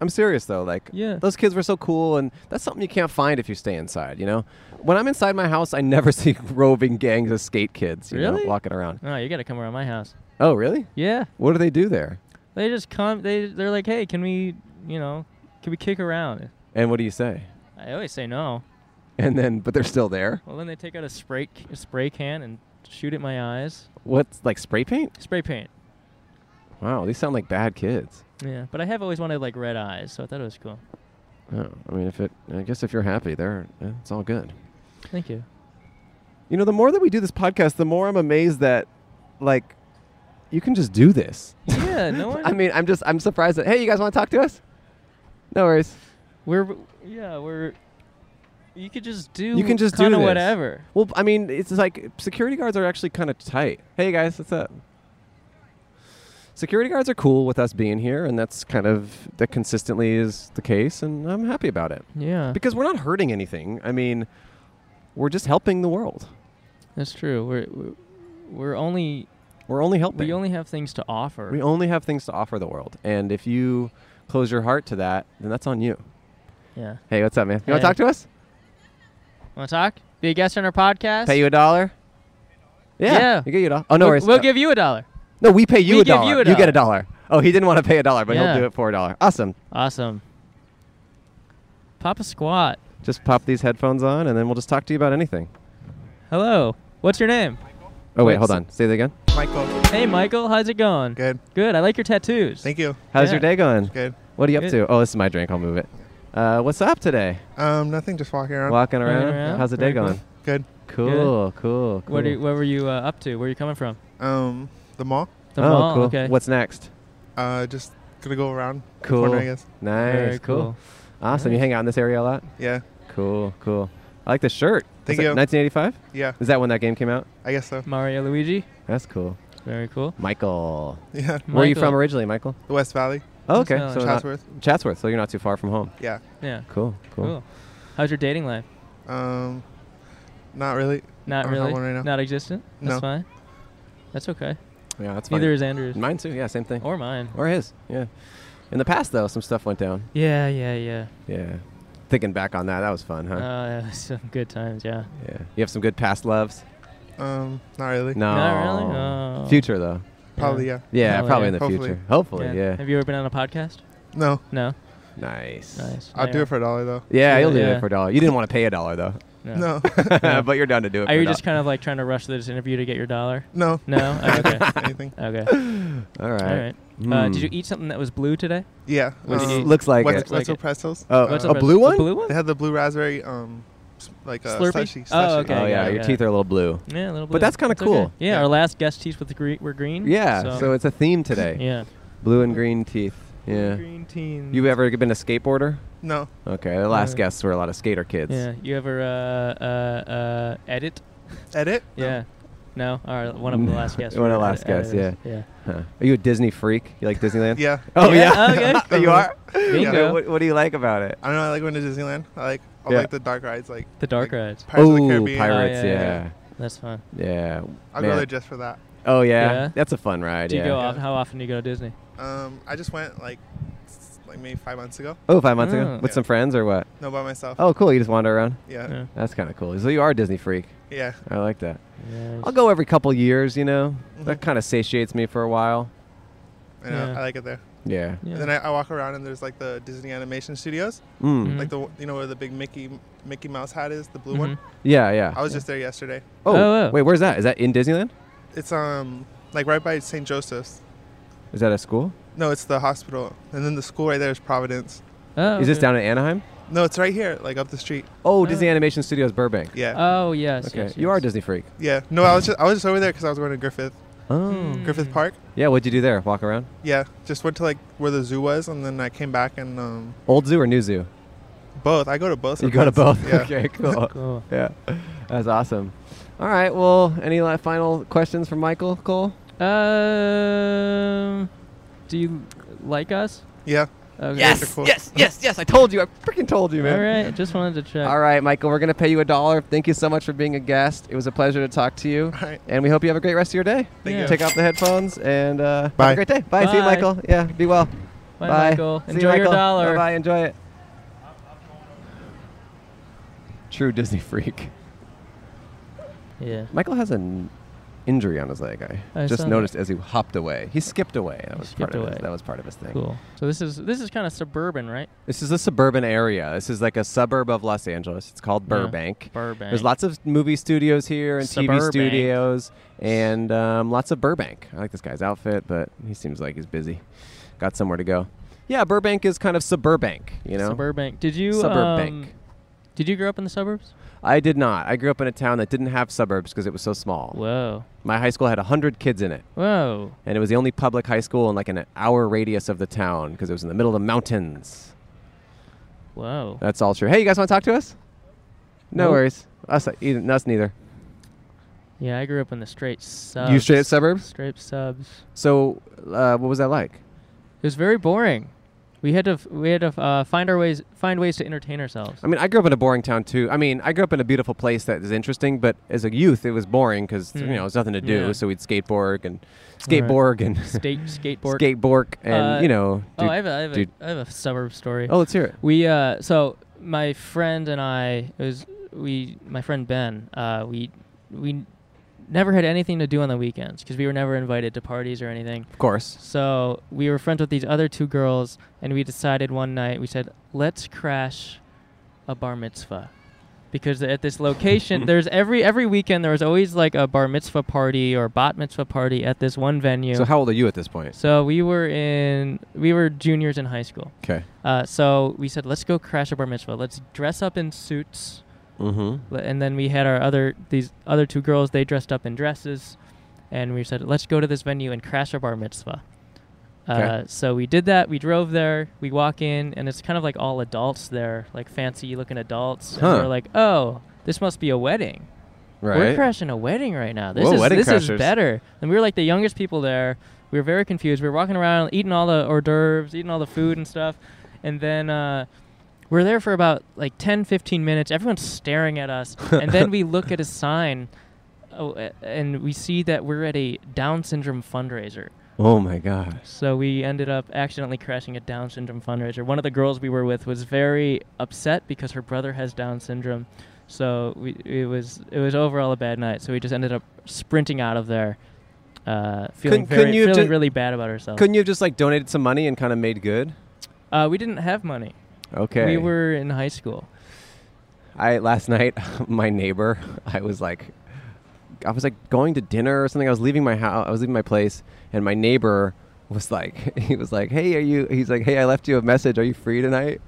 Speaker 2: I'm serious though. Like,
Speaker 4: Yeah.
Speaker 2: those kids were so cool, and that's something you can't find if you stay inside. You know, when I'm inside my house, I never see roving gangs of skate kids. You
Speaker 4: Really?
Speaker 2: know, walking around.
Speaker 4: No, you gotta come around my house.
Speaker 2: Oh, really?
Speaker 4: Yeah.
Speaker 2: What do they do there?
Speaker 4: They just come. They they're like, hey, can we, you know, can we kick around?
Speaker 2: And what do you say?
Speaker 4: I always say no.
Speaker 2: and then but they're still there.
Speaker 4: Well, then they take out a spray c- a spray can and shoot at my eyes.
Speaker 2: What's like spray paint?
Speaker 4: Spray paint.
Speaker 2: Wow, these sound like bad kids.
Speaker 4: Yeah, but I have always wanted like red eyes, so I thought it was cool.
Speaker 2: Oh, I mean, if it, I guess if you're happy, there, eh, it's all good.
Speaker 4: Thank you.
Speaker 2: You know, the more that we do this podcast, the more I'm amazed that, like, you can just do this.
Speaker 4: Yeah, no one.
Speaker 2: I mean, I'm just, I'm surprised that. Hey, you guys want to talk to us? No worries.
Speaker 4: We're yeah, we're. You could just do.
Speaker 2: you can just do
Speaker 4: kinda
Speaker 2: this.
Speaker 4: whatever.
Speaker 2: Well, I mean, it's like security guards are actually kind of tight. Hey guys, what's up? Security guards are cool with us being here, and that's kind of that consistently is the case, and I'm happy about it.
Speaker 4: Yeah.
Speaker 2: Because we're not hurting anything. I mean, we're just helping the world.
Speaker 4: That's true. We're we're, we're only
Speaker 2: we're only helping.
Speaker 4: We only have things to offer.
Speaker 2: We only have things to offer the world, and if you close your heart to that, then that's on you.
Speaker 4: Yeah.
Speaker 2: Hey, what's up, man? You want
Speaker 4: Hey.
Speaker 2: to talk to us?
Speaker 4: Want to talk? Be a guest on our podcast.
Speaker 2: Pay you a dollar? Yeah.
Speaker 4: Yeah.
Speaker 2: We get you a dollar. Oh, no
Speaker 4: We'll-
Speaker 2: worries.
Speaker 4: We'll
Speaker 2: Uh,
Speaker 4: give you a dollar.
Speaker 2: No, we pay you
Speaker 4: We
Speaker 2: a
Speaker 4: give
Speaker 2: dollar.
Speaker 4: you a
Speaker 2: get a
Speaker 4: dollar.
Speaker 2: dollar. Oh, he didn't want to pay a dollar, but
Speaker 4: Yeah.
Speaker 2: he'll do it for a dollar. Awesome.
Speaker 4: Awesome. Papa Squat.
Speaker 2: Just pop these headphones on, and then we'll just talk to you about anything.
Speaker 4: Hello. What's your name?
Speaker 2: Oh, wait,
Speaker 4: Wait,
Speaker 2: hold
Speaker 4: so-
Speaker 2: on. Say that again.
Speaker 13: Michael.
Speaker 4: Hey, Michael. How's it going? Good. Good. I like your tattoos. Thank
Speaker 13: you.
Speaker 2: How's your day going?
Speaker 13: Good.
Speaker 2: What are you up
Speaker 13: Good.
Speaker 2: to? Oh, this is my drink. I'll move it. Uh, what's up today?
Speaker 13: Um, nothing, just walking around.
Speaker 2: Walking around? How's the day
Speaker 13: Very cool.
Speaker 2: going?
Speaker 13: Good.
Speaker 2: Cool, cool, cool.
Speaker 4: What, are you, what were you uh, up to? Where are you coming from?
Speaker 13: Um, the mall.
Speaker 4: The
Speaker 2: oh,
Speaker 4: mall.
Speaker 2: cool.
Speaker 4: Okay.
Speaker 2: What's next?
Speaker 13: Uh, just gonna go around. the
Speaker 2: Cool.
Speaker 13: Corner, I guess.
Speaker 2: Nice.
Speaker 4: Very cool.
Speaker 2: cool. Awesome. You
Speaker 4: Nice.
Speaker 2: hang out in this area a lot?
Speaker 13: Yeah.
Speaker 2: Cool, cool. I like the shirt.
Speaker 13: Thank
Speaker 2: What's that,
Speaker 13: you.
Speaker 2: 1985?
Speaker 13: Yeah.
Speaker 2: Is that when that game came out?
Speaker 13: I guess so.
Speaker 4: Mario Luigi.
Speaker 2: That's cool.
Speaker 4: Very cool.
Speaker 2: Michael.
Speaker 13: Yeah.
Speaker 2: Where are you
Speaker 13: Michael.
Speaker 2: from originally, Michael?
Speaker 13: The West Valley.
Speaker 2: Oh, okay.
Speaker 4: West
Speaker 2: So
Speaker 4: Valley.
Speaker 2: not-
Speaker 13: Chatsworth.
Speaker 2: Chatsworth. So you're not too far from home.
Speaker 13: Yeah.
Speaker 4: Yeah.
Speaker 2: Cool. Cool.
Speaker 4: How's your dating life?
Speaker 13: Um, not really.
Speaker 4: Not
Speaker 13: I don't have
Speaker 4: really.
Speaker 13: one right now.
Speaker 4: Not existent. That's
Speaker 13: No.
Speaker 4: fine. That's okay.
Speaker 2: Yeah, that's
Speaker 4: Neither
Speaker 2: fine.
Speaker 4: is Andrew's.
Speaker 2: Mine too. Yeah, same thing.
Speaker 4: Or mine.
Speaker 2: Or his. Yeah. In the past though, some stuff went down.
Speaker 4: Yeah, yeah, yeah.
Speaker 2: Yeah. Thinking back on that, that was fun, huh?
Speaker 4: Uh, some good times. Yeah.
Speaker 2: yeah. You have some good past loves.
Speaker 13: Um, not really.
Speaker 2: No.
Speaker 4: Not really? Oh.
Speaker 2: Future though.
Speaker 13: Probably, yeah.
Speaker 2: Yeah,
Speaker 4: Probably,
Speaker 2: probably
Speaker 4: yeah.
Speaker 2: in the
Speaker 13: Hopefully.
Speaker 2: future. Hopefully, yeah.
Speaker 4: Have you ever been on a podcast?
Speaker 13: No.
Speaker 4: No.
Speaker 2: Nice.
Speaker 4: Nice.
Speaker 13: I'll
Speaker 4: Now
Speaker 13: do
Speaker 4: you're-
Speaker 13: it for a dollar though.
Speaker 2: Yeah, you'll do
Speaker 4: Yeah.
Speaker 2: it for a dollar. You didn't want to pay a dollar though.
Speaker 13: No.
Speaker 4: No.
Speaker 2: but you're down to do it.
Speaker 4: Are
Speaker 2: for
Speaker 4: you
Speaker 2: a dollar.
Speaker 4: just kind of like trying to rush this interview to get your dollar?
Speaker 13: No.
Speaker 4: No. Oh, okay.
Speaker 13: Anything.
Speaker 4: Okay.
Speaker 2: All right.
Speaker 4: All right. Uh,
Speaker 2: Hmm.
Speaker 4: did you eat something that was blue today?
Speaker 13: Yeah.
Speaker 4: What did
Speaker 13: um,
Speaker 4: you eat?
Speaker 2: Looks like
Speaker 13: Wetzel-
Speaker 2: it.
Speaker 13: Wetzel pretzels.
Speaker 2: Oh,
Speaker 13: Uh,
Speaker 2: a blue one?
Speaker 4: A blue one?
Speaker 13: They had the blue raspberry, um, s- like a
Speaker 4: Slurpee?
Speaker 13: slushy.
Speaker 4: Oh,
Speaker 13: slushy.
Speaker 4: okay,
Speaker 2: oh yeah,
Speaker 4: got it,
Speaker 2: your
Speaker 4: got
Speaker 2: teeth
Speaker 4: it.
Speaker 2: are a little blue.
Speaker 4: Yeah, a little blue.
Speaker 2: But that's kind of
Speaker 4: It's okay.
Speaker 2: cool.
Speaker 4: Yeah, Our last guest teeth with the gre- were green.
Speaker 2: Yeah,
Speaker 4: So,
Speaker 2: so. it's a theme today.
Speaker 4: Yeah.
Speaker 2: Blue and green teeth. Yeah.
Speaker 4: green teens.
Speaker 2: You ever been a skateboarder?
Speaker 13: No.
Speaker 2: Okay, the last
Speaker 4: Uh,
Speaker 2: guests were a lot of skater kids.
Speaker 4: Yeah. You ever uh, uh, uh, edit?
Speaker 13: Edit? No.
Speaker 4: Yeah. No. All right. One of the last guests.
Speaker 2: One of
Speaker 4: were
Speaker 2: the last
Speaker 4: edi-
Speaker 2: guests, yeah.
Speaker 4: editors. Yeah.
Speaker 2: Huh. Are you a Disney freak? You like Disneyland?
Speaker 13: Yeah.
Speaker 2: Oh,
Speaker 4: Yeah,
Speaker 2: yeah?
Speaker 4: okay.
Speaker 2: you are?
Speaker 4: Bingo.
Speaker 2: Yeah, What, what do you like about it?
Speaker 13: I don't know. I like going to Disneyland. I like I
Speaker 2: Yeah.
Speaker 13: like the dark rides, like
Speaker 4: The dark
Speaker 13: like
Speaker 4: rides.
Speaker 13: Pirates of
Speaker 2: Ooh,
Speaker 13: the Caribbean.
Speaker 2: Pirates,
Speaker 4: Oh, yeah, yeah,
Speaker 2: yeah.
Speaker 4: That's fun.
Speaker 2: Yeah.
Speaker 13: I'll go
Speaker 2: man.
Speaker 13: there just for that.
Speaker 2: Oh, yeah?
Speaker 4: Yeah?
Speaker 2: That's a fun ride,
Speaker 4: Do you
Speaker 2: yeah.
Speaker 4: go? Off, how often do you go to Disney?
Speaker 13: Um, I just went like s- like maybe five months ago.
Speaker 2: Oh, five months
Speaker 4: Oh.
Speaker 2: ago? With
Speaker 13: Yeah.
Speaker 2: some friends or what?
Speaker 13: No, by myself.
Speaker 2: Oh, cool. You just wander around?
Speaker 13: Yeah.
Speaker 4: Yeah.
Speaker 2: That's kind of cool. So you are a Disney freak.
Speaker 13: Yeah.
Speaker 2: I like that.
Speaker 4: Nice.
Speaker 2: I'll go every couple years, you know? That
Speaker 13: Mhm.
Speaker 2: kind of satiates me for a while.
Speaker 13: I know.
Speaker 4: Yeah.
Speaker 13: uh, I like it there.
Speaker 2: Yeah.
Speaker 4: Yeah.
Speaker 13: And then I, I walk around and there's like the Disney Animation Studios,
Speaker 2: Mm.
Speaker 4: Mhm.
Speaker 13: like the w- you know where the big Mickey Mickey Mouse hat is, the blue one.
Speaker 2: Yeah, yeah.
Speaker 13: I was just there yesterday.
Speaker 2: oh,
Speaker 4: Mm-hmm. Oh, oh.
Speaker 2: wait, where's that? Is that in Disneyland?
Speaker 13: It's um like right by St. Joseph's.
Speaker 2: Is that a school?
Speaker 13: No, it's the hospital, and then the school right there is Providence.
Speaker 4: Oh.
Speaker 2: Is this
Speaker 4: okay.
Speaker 2: down in Anaheim?
Speaker 13: No, it's right here, like up the street.
Speaker 2: Oh,
Speaker 4: Oh.
Speaker 2: Disney Animation Studios Burbank.
Speaker 13: Yeah.
Speaker 4: Oh yes.
Speaker 2: Okay,
Speaker 4: yes,
Speaker 2: you are a
Speaker 4: yes.
Speaker 2: Disney freak.
Speaker 13: yeah. No, I was just I was just over there because I was going to Griffith
Speaker 2: Oh.
Speaker 4: Mm.
Speaker 13: Hmm. Griffith Park.
Speaker 2: Yeah, what'd you do there? Walk around?
Speaker 13: Yeah, just went to like where the zoo was, and then I came back and um,
Speaker 2: Old zoo or new zoo?
Speaker 13: both. I go to both.
Speaker 2: you go to both.
Speaker 13: sometimes. Yeah.
Speaker 2: okay, cool.
Speaker 4: Cool.
Speaker 2: Yeah, that's awesome. All right. Well, any la- final questions from Michael Cole?
Speaker 4: Um, do you like us?
Speaker 13: Yeah.
Speaker 4: Okay.
Speaker 13: Yes, Wonderful. yes,
Speaker 2: yes. I told you. I freaking told you,
Speaker 4: All right. Just wanted to check.
Speaker 2: All right, Michael. We're gonna pay you a dollar. Thank you so much for being a guest. It was a pleasure to talk to you,
Speaker 13: All right.
Speaker 2: and we hope you have a great rest of your day.
Speaker 13: Thank
Speaker 4: Yeah.
Speaker 13: you.
Speaker 2: Take off the headphones and uh,
Speaker 13: Bye.
Speaker 2: have a great day. Bye. See you,
Speaker 4: Bye.
Speaker 2: Michael. Yeah. Be well.
Speaker 4: Bye, Michael. Enjoy your dollar.
Speaker 2: Bye. Enjoy it. True Disney freak.
Speaker 4: Yeah.
Speaker 2: Michael has a n- injury on his leg. I,
Speaker 4: I saw
Speaker 2: just
Speaker 4: that.
Speaker 2: noticed as he hopped away. He skipped away. That was
Speaker 4: skipped
Speaker 2: part of
Speaker 4: away.
Speaker 2: his, that was part of his thing.
Speaker 4: Cool. So this is this is kind of suburban, right?
Speaker 2: This is a suburban area. This is like a suburb of Los Angeles. It's called
Speaker 4: Yeah.
Speaker 2: Burbank.
Speaker 4: Burbank.
Speaker 2: There's lots of movie studios here and TV
Speaker 4: Suburbank.
Speaker 2: studios and um, lots of Burbank. I like this guy's outfit, but he seems like he's busy. Got somewhere to go. Yeah, Burbank is kind of suburbank, you know.
Speaker 4: Suburbank. Did you
Speaker 2: Suburbank.
Speaker 4: um, did you grow up in the suburbs?
Speaker 2: I did not. I grew up in a town that didn't have suburbs because it was so small.
Speaker 4: Whoa.
Speaker 2: My high school had 100 kids in it.
Speaker 4: Whoa.
Speaker 2: And it was the only public high school in like an hour radius of the town because it was in the middle of the mountains.
Speaker 4: Whoa.
Speaker 2: That's all true. Hey, you guys want to talk to us? No
Speaker 4: Nope.
Speaker 2: worries. Us, either, us neither.
Speaker 4: Yeah, I grew up in the straight subs.
Speaker 2: You straight up suburbs?
Speaker 4: Straight subs.
Speaker 2: So, uh, what was that like?
Speaker 4: It was very boring. We had to f- we had to f- uh, find our ways find ways to entertain ourselves.
Speaker 2: I mean, I grew up in a boring town too. I mean, I grew up in a beautiful place that is interesting, but as a youth, it was boring because you
Speaker 4: Hmm.
Speaker 2: know, there's nothing to do.
Speaker 4: Yeah.
Speaker 2: So we'd skateboard and
Speaker 4: Right.
Speaker 2: skateboard and
Speaker 4: Skate- skateboard.
Speaker 2: skateboard and
Speaker 4: Uh,
Speaker 2: you know.
Speaker 4: Oh,
Speaker 2: do-
Speaker 4: I have a, I have, a,
Speaker 2: do-
Speaker 4: I have a suburb story.
Speaker 2: Oh, let's hear it.
Speaker 4: We uh, so my friend and I it was we my friend Ben uh, we we never had anything to do on the weekends because we were never invited to parties or anything. Of
Speaker 2: course.
Speaker 4: So we were friends with these other two girls, and we decided one night we said let's crash a bar mitzvah because at this location there's every every weekend there was always like a bar mitzvah party or bat mitzvah party at this one venue.
Speaker 2: So how old are you at this point?
Speaker 4: So we were in we were juniors in high school.
Speaker 2: 'Kay.
Speaker 4: Uh, so we said let's go crash a bar mitzvah. Let's dress up in suits.
Speaker 2: Mhm.
Speaker 4: Le- And then we had our other these other two girls. They dressed up in dresses, and we said let's go to this venue and crash a bar mitzvah. Uh,
Speaker 2: 'Kay.
Speaker 4: so we did that. We drove there. We walk in, and it's kind of like all adults there, like fancy looking adults.
Speaker 2: Huh.
Speaker 4: And we're like, oh, this must be a wedding. We're
Speaker 2: Right.
Speaker 4: crashing a wedding right now. This
Speaker 2: Whoa,
Speaker 4: is
Speaker 2: wedding
Speaker 4: this
Speaker 2: crashers.
Speaker 4: is better. And we were like the youngest people there. We were very confused. We were walking around, eating all the hors d'oeuvres, eating all the food and stuff. And then uh, we're there for about like 10, 15 minutes. Everyone's staring at us. and then we look at a sign oh, a- and we see that we're at a Down syndrome fundraiser.
Speaker 2: Oh my gosh.
Speaker 4: So we ended up accidentally crashing a Down syndrome fundraiser. One of the girls we were with was very upset because her brother has Down syndrome. So we, it was it was overall a bad night. So we just ended up sprinting out of there, uh, feeling
Speaker 2: Couldn't-
Speaker 4: very,
Speaker 2: couldn't you have
Speaker 4: feeling
Speaker 2: ju-
Speaker 4: really bad about ourselves.
Speaker 2: Couldn't you have just like donated some money and kind of made good?
Speaker 4: Uh, we didn't have money.
Speaker 2: Okay.
Speaker 4: We were in high school.
Speaker 2: I last night, my neighbor, I was like, I was like going to dinner or something. I was leaving my house. I was leaving my place, and my neighbor was like, he was like, "Hey, are you?" He's like, "Hey, I left you a message. Are you free tonight?"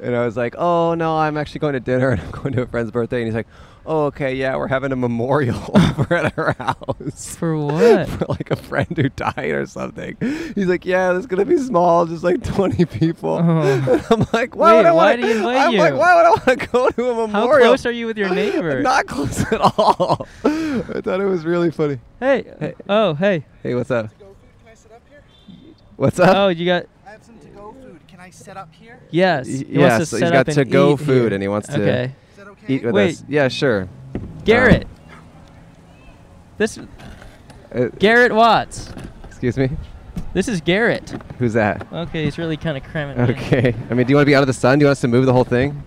Speaker 2: And I was like, "Oh no, I'm actually going to dinner and I'm going to a friend's birthday." And he's like, "Oh, okay, yeah, we're having a memorial over at our house
Speaker 4: for what?
Speaker 2: for like a friend who died or something." He's like, "Yeah, it's gonna be small, just like 20 people."
Speaker 4: Oh.
Speaker 2: I'm like, "Why would
Speaker 4: Wait, why
Speaker 2: I want?"
Speaker 4: did he invite
Speaker 2: I'm like,
Speaker 4: you?
Speaker 2: "Why would I want to go to a memorial?"
Speaker 4: How close are you with your neighbor?
Speaker 2: Not close at all. I thought it was really funny.
Speaker 4: Hey. Oh, hey.
Speaker 2: Hey, what's up? What's up?
Speaker 4: Oh, you got
Speaker 14: I have some to-go food. Can I set up here?
Speaker 4: yes.
Speaker 2: Y-
Speaker 4: He wants
Speaker 2: yeah,
Speaker 4: to
Speaker 2: so
Speaker 4: set
Speaker 2: he's got
Speaker 4: up and
Speaker 2: to go
Speaker 4: eat
Speaker 2: food
Speaker 4: here.
Speaker 2: and he wants to
Speaker 4: Okay.
Speaker 2: eat with
Speaker 4: Wait,
Speaker 2: us. Yeah, sure.
Speaker 4: Garrett. this
Speaker 2: Uh,
Speaker 4: Garrett Watts.
Speaker 2: Excuse me?
Speaker 4: This is Garrett.
Speaker 2: Who's that?
Speaker 4: Okay, he's really kind of cramming. it in.
Speaker 2: Okay. I mean, do you want to be out of the sun? Do you want us to move the whole thing?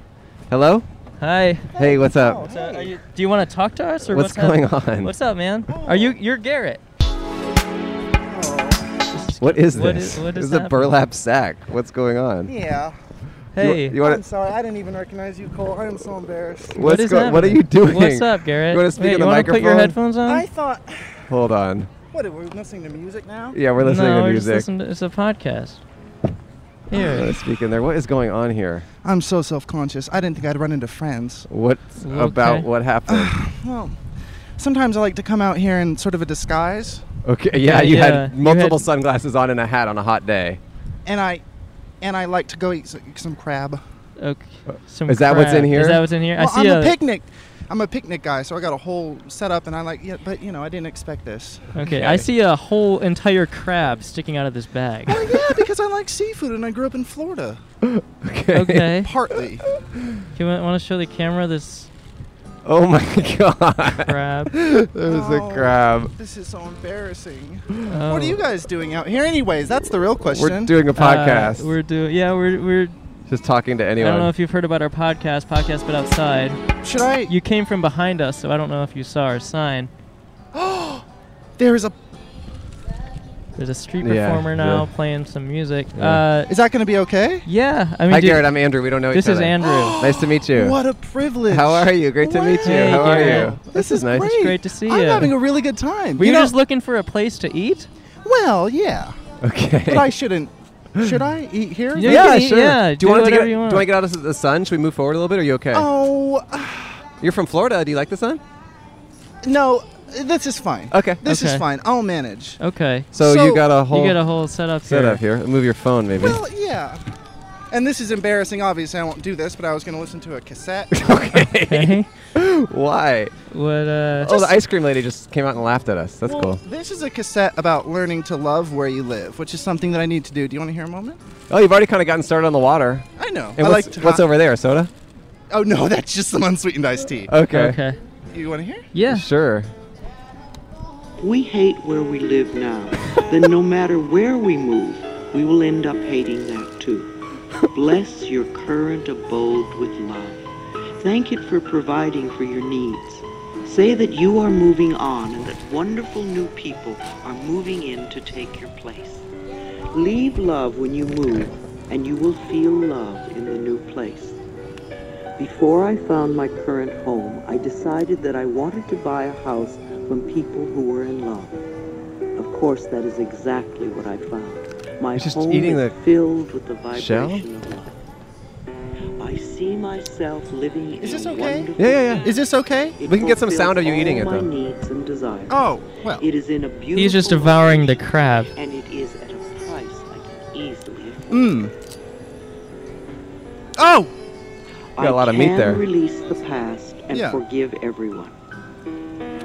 Speaker 2: Hello?
Speaker 4: Hi.
Speaker 2: Hey, what's up?
Speaker 4: So, are you, do you want to talk to us or what's,
Speaker 2: What's going
Speaker 4: up?
Speaker 2: on?
Speaker 4: What's up, man? Are you you're Garrett?
Speaker 2: What is this?
Speaker 4: What is- what
Speaker 2: this
Speaker 4: is
Speaker 2: is a
Speaker 4: happening?
Speaker 2: burlap sack. What's going on?
Speaker 14: Yeah.
Speaker 4: Hey.
Speaker 2: You, you want
Speaker 14: I'm sorry. I didn't even recognize you, Cole. I am so embarrassed.
Speaker 2: What's
Speaker 4: is
Speaker 2: go- what are
Speaker 4: happening?
Speaker 2: you doing?
Speaker 4: What's up, Garrett?
Speaker 2: You want to speak
Speaker 4: Wait,
Speaker 2: in
Speaker 4: you
Speaker 2: the
Speaker 4: wanna
Speaker 2: microphone?
Speaker 4: put your headphones on?
Speaker 14: I thought.
Speaker 2: Hold on.
Speaker 14: What? Are we listening to music now?
Speaker 2: Yeah, we're listening
Speaker 4: no,
Speaker 2: to
Speaker 4: we're just
Speaker 2: music.
Speaker 4: listening to- it's a podcast.
Speaker 2: I'm
Speaker 4: Here.
Speaker 2: gonna Uh, Speak in there. What is going on here?
Speaker 14: I'm so self-conscious. I didn't think I'd run into friends.
Speaker 2: What's about
Speaker 14: Okay.
Speaker 2: what happened?
Speaker 14: Well, sometimes I like to come out here in sort of a disguise,
Speaker 2: Okay,
Speaker 4: Yeah,
Speaker 2: yeah, you
Speaker 4: yeah,
Speaker 2: had
Speaker 4: you
Speaker 2: multiple
Speaker 4: had-
Speaker 2: sunglasses on and a hat on a hot day.
Speaker 14: and I, and I like to go eat s- some crab.
Speaker 4: Okay. Some
Speaker 2: Is that what's in
Speaker 4: crap.
Speaker 2: here?
Speaker 4: Is that what's in here?
Speaker 14: Well,
Speaker 4: I see
Speaker 14: I'm a,
Speaker 4: a
Speaker 14: picnic. I'm a picnic guy, so I got a whole setup, and I like. Yeah, but you know, I didn't expect this.
Speaker 4: Okay, I see a whole entire crab sticking out of this bag.
Speaker 14: yeah, because I like seafood, and I grew up in Florida.
Speaker 4: Okay.
Speaker 14: Partly.
Speaker 4: Do you want to show the camera this
Speaker 2: Oh my god.
Speaker 4: crab?
Speaker 2: that was
Speaker 14: Oh.
Speaker 2: a crab.
Speaker 14: This is so embarrassing.
Speaker 4: Oh.
Speaker 14: What are you guys doing out here, anyways? That's the real question.
Speaker 2: We're doing a podcast.
Speaker 4: Uh, we're doing. Yeah, we're we're.
Speaker 2: Just talking to
Speaker 4: I
Speaker 2: anyone.
Speaker 4: don't know if you've heard about our podcast, podcast but outside.
Speaker 14: Should I?
Speaker 4: You came from behind us, so I don't know if you saw our sign.
Speaker 15: There is a.
Speaker 4: There's a street
Speaker 2: Yeah,
Speaker 4: performer now
Speaker 2: yeah.
Speaker 4: playing some music.
Speaker 2: Yeah.
Speaker 4: Uh,
Speaker 15: Is that going to be okay?
Speaker 4: Yeah. I mean,
Speaker 2: Hi,
Speaker 4: dude-
Speaker 2: Garrett. I'm Andrew. We don't know
Speaker 4: This
Speaker 2: each
Speaker 4: is
Speaker 2: other.
Speaker 4: Andrew.
Speaker 2: nice to meet you.
Speaker 15: What a privilege.
Speaker 2: How are you? Great to meet you.
Speaker 4: Hey,
Speaker 2: How are
Speaker 4: Garrett.
Speaker 2: you? This, is, nice.
Speaker 4: It's great to see
Speaker 15: I'm
Speaker 4: you.
Speaker 15: having a really good time.
Speaker 4: Were
Speaker 15: You
Speaker 4: you,
Speaker 15: know-
Speaker 4: just looking for a place to eat?
Speaker 15: Well, yeah.
Speaker 2: Okay.
Speaker 15: But I shouldn't. Should I eat here?
Speaker 4: Yeah, you can eat- yeah,
Speaker 2: Do you
Speaker 4: do
Speaker 2: want to
Speaker 4: whatever
Speaker 2: get,
Speaker 4: you want.
Speaker 2: Do I get out of the sun? Should we move forward a little bit? Are you okay?
Speaker 15: Oh,
Speaker 2: You're from Florida. Do you like the sun?
Speaker 15: no. This is fine.
Speaker 2: Okay.
Speaker 15: This
Speaker 2: Okay.
Speaker 15: is fine. I'll manage.
Speaker 4: Okay.
Speaker 2: So, you got a whole
Speaker 4: You got a whole setup here.
Speaker 2: setup here. Move your phone, maybe.
Speaker 15: Well, yeah. And this is embarrassing. Obviously, I won't do this, but I was going to listen to a cassette. okay.
Speaker 4: Okay.
Speaker 2: Why?
Speaker 4: What? Uh,
Speaker 2: oh, the ice cream lady just came out and laughed at us. That's
Speaker 15: well,
Speaker 2: cool.
Speaker 15: This is a cassette about learning to love where you live, which is something that I need to do. Do you want to hear a moment?
Speaker 2: Oh, you've already kind of gotten started on the water.
Speaker 15: I know.
Speaker 2: And
Speaker 15: I
Speaker 2: what's,
Speaker 15: like to-
Speaker 2: what's over there? Soda.
Speaker 15: Oh no, that's just some unsweetened iced tea.
Speaker 2: Okay. Okay.
Speaker 15: You want to hear?
Speaker 4: Yeah.
Speaker 2: Sure.
Speaker 16: We hate where we live now. then no matter where we move, we will end up hating that too. Bless your current abode with love. Thank it for providing for your needs. Say that you are moving on and that wonderful new people are moving in to take your place. Leave love when you move and you will feel love in the new place. Before I found my current home, I decided that I wanted to buy a house from people who were in love. Of course, that is exactly what I found. My
Speaker 2: He's just
Speaker 16: home
Speaker 2: eating
Speaker 16: is
Speaker 2: the
Speaker 16: filled with the
Speaker 2: shell?
Speaker 16: vibration of love. I see myself living
Speaker 15: Is
Speaker 16: in
Speaker 15: this okay?
Speaker 16: wonderful
Speaker 2: Yeah, yeah, yeah.
Speaker 15: Is this okay?
Speaker 16: It
Speaker 2: We can get some sound of you
Speaker 16: fulfills
Speaker 2: eating it
Speaker 16: all my
Speaker 2: though.
Speaker 16: needs and desires.
Speaker 15: Oh, well.
Speaker 16: It is in a beautiful
Speaker 4: He's just devouring the crab.
Speaker 16: and it is at a price I can easily afford.
Speaker 15: Mmm. Oh!
Speaker 2: Got a lot of
Speaker 16: I
Speaker 2: meat
Speaker 16: can
Speaker 2: there.
Speaker 16: release the past and
Speaker 15: Yeah.
Speaker 16: forgive everyone.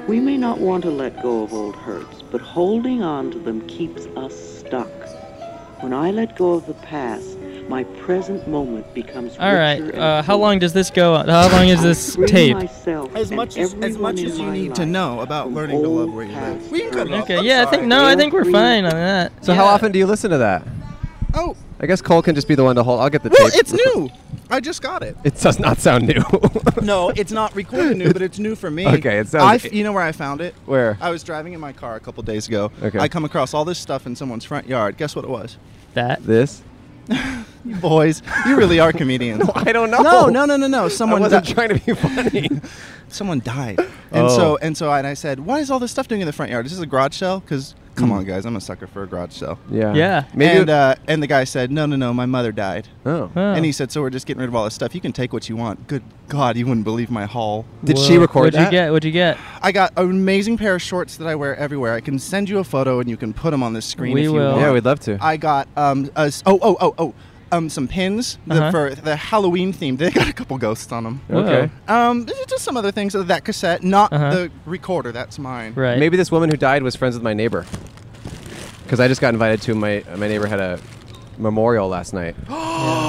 Speaker 16: We may not want to let go of old hurts, but holding on to them keeps us stuck. When I let go of the past, my present moment becomes
Speaker 4: All right.
Speaker 16: richer and
Speaker 4: Uh, how
Speaker 16: fuller.
Speaker 4: long does this go? on? How long is
Speaker 16: I
Speaker 4: this
Speaker 16: free
Speaker 4: tape?
Speaker 16: myself
Speaker 15: As
Speaker 16: and
Speaker 15: much as- as
Speaker 16: everyone
Speaker 15: much
Speaker 16: in
Speaker 15: as you
Speaker 16: my
Speaker 15: need to
Speaker 16: life
Speaker 15: know about
Speaker 16: from
Speaker 15: learning to love
Speaker 16: old
Speaker 15: where you live.
Speaker 16: past
Speaker 15: We can cut it off.
Speaker 16: hurts.
Speaker 4: Okay. Yeah, I think no. I think we're fine on that.
Speaker 2: So how often do you listen to that?
Speaker 15: Oh.
Speaker 2: I guess Cole can just be the one to hold. I'll get the
Speaker 15: Well,
Speaker 2: tape.
Speaker 15: it's new. I just got it.
Speaker 2: It does not sound new.
Speaker 15: no, it's not recorded new, but it's new for me.
Speaker 2: Okay, it sounds-
Speaker 15: I f- you know where I found it?
Speaker 2: Where?
Speaker 15: I was driving in my car a couple days ago.
Speaker 2: Okay.
Speaker 15: I come across all this stuff in someone's front yard. Guess what it was?
Speaker 4: That.
Speaker 2: this.
Speaker 15: You boys, you really are comedians. no,
Speaker 2: I don't know.
Speaker 15: No, no, no, no, no. Someone
Speaker 2: wasn't
Speaker 15: di-
Speaker 2: trying to be funny.
Speaker 15: someone died, and
Speaker 2: Oh.
Speaker 15: so and so, I- and I said, "Why is all this stuff doing in the front yard? Is this a garage sale?" Because come
Speaker 2: Hmm.
Speaker 15: on, guys, I'm a sucker for a garage sale.
Speaker 2: Yeah.
Speaker 4: Yeah.
Speaker 2: Maybe
Speaker 15: and
Speaker 2: it-
Speaker 15: uh, and the guy said, "No, no, no, my mother died."
Speaker 2: Oh.
Speaker 4: Oh.
Speaker 15: And he said, "So we're just getting rid of all this stuff. You can take what you want." Good God, you wouldn't believe my haul.
Speaker 2: Did she record
Speaker 4: What'd
Speaker 2: that?
Speaker 4: you get? What'd you get?
Speaker 15: I got an amazing pair of shorts that I wear everywhere. I can send you a photo and you can put them on the screen.
Speaker 4: We
Speaker 15: if you
Speaker 4: will.
Speaker 15: want.
Speaker 2: Yeah, we'd love to.
Speaker 15: I got um a s oh oh oh oh um some pins that
Speaker 4: Uh-huh.
Speaker 15: for the Halloween theme. They got a couple ghosts on them.
Speaker 4: Whoa.
Speaker 2: Okay.
Speaker 15: Um, there's just some other things. uh, That cassette, not
Speaker 4: Uh-huh.
Speaker 15: the recorder. That's mine.
Speaker 4: Right.
Speaker 2: Maybe this woman who died was friends with my neighbor. Because I just got invited to my uh, my neighbor had a memorial last night.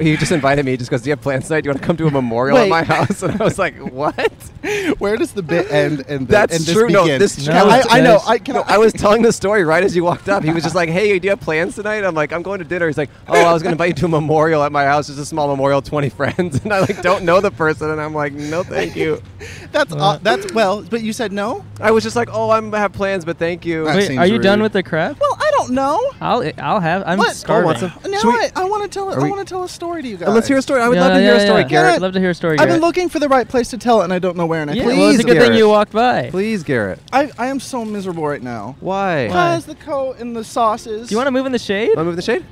Speaker 2: he just invited me. He just goes, "Do you have plans tonight? Do you want to come to a memorial at
Speaker 15: Wait.
Speaker 2: my house?" And I was like, "What?"
Speaker 15: Where does the bit end? And the,
Speaker 2: That's
Speaker 15: and this
Speaker 2: true. No,
Speaker 15: begin?
Speaker 2: this
Speaker 4: No,
Speaker 2: I,
Speaker 4: it
Speaker 2: was- I know.
Speaker 4: says-
Speaker 2: I, can, I was telling the story right as you walked up. He was just like, "Hey, do you have plans tonight?" I'm like, "I'm going to dinner." He's like, "Oh, I was going to invite you to a memorial at my house. It's a small memorial, 20 friends." And I like don't know the person, and I'm like, "No, thank you."
Speaker 15: That's uh, that's well, but you said no.
Speaker 2: I was just like, "Oh, I'm I have plans, but thank you."
Speaker 15: That
Speaker 4: Wait,
Speaker 15: seems
Speaker 4: are you done
Speaker 15: rude.
Speaker 4: with the crab?
Speaker 15: Well, I don't know.
Speaker 4: I'll I'll have. I'm
Speaker 2: Oh,
Speaker 15: What? Cole
Speaker 4: starving.
Speaker 2: wants a-
Speaker 15: No,
Speaker 2: Should we-
Speaker 15: I, I want to tell.
Speaker 2: Are
Speaker 15: I
Speaker 2: we-
Speaker 15: want to tell a story to you guys.
Speaker 2: Uh, Let's hear a story. I would
Speaker 4: Yeah,
Speaker 2: love to hear
Speaker 4: yeah,
Speaker 2: a story,
Speaker 4: yeah.
Speaker 2: Garrett.
Speaker 15: Garrett,
Speaker 4: Love to hear a story.
Speaker 15: I've been
Speaker 4: Garrett.
Speaker 15: looking for the right place to tell it, and I don't know where. And I
Speaker 4: Yeah,
Speaker 15: please,
Speaker 4: well, it's a good thing
Speaker 2: Garrett.
Speaker 4: you walked by.
Speaker 2: Please, Garrett.
Speaker 15: I, I am so miserable right now.
Speaker 2: Why?
Speaker 4: Why?
Speaker 15: Because the coat and the sauces.
Speaker 4: Do you want to move in the shade?
Speaker 2: Want to move the shade?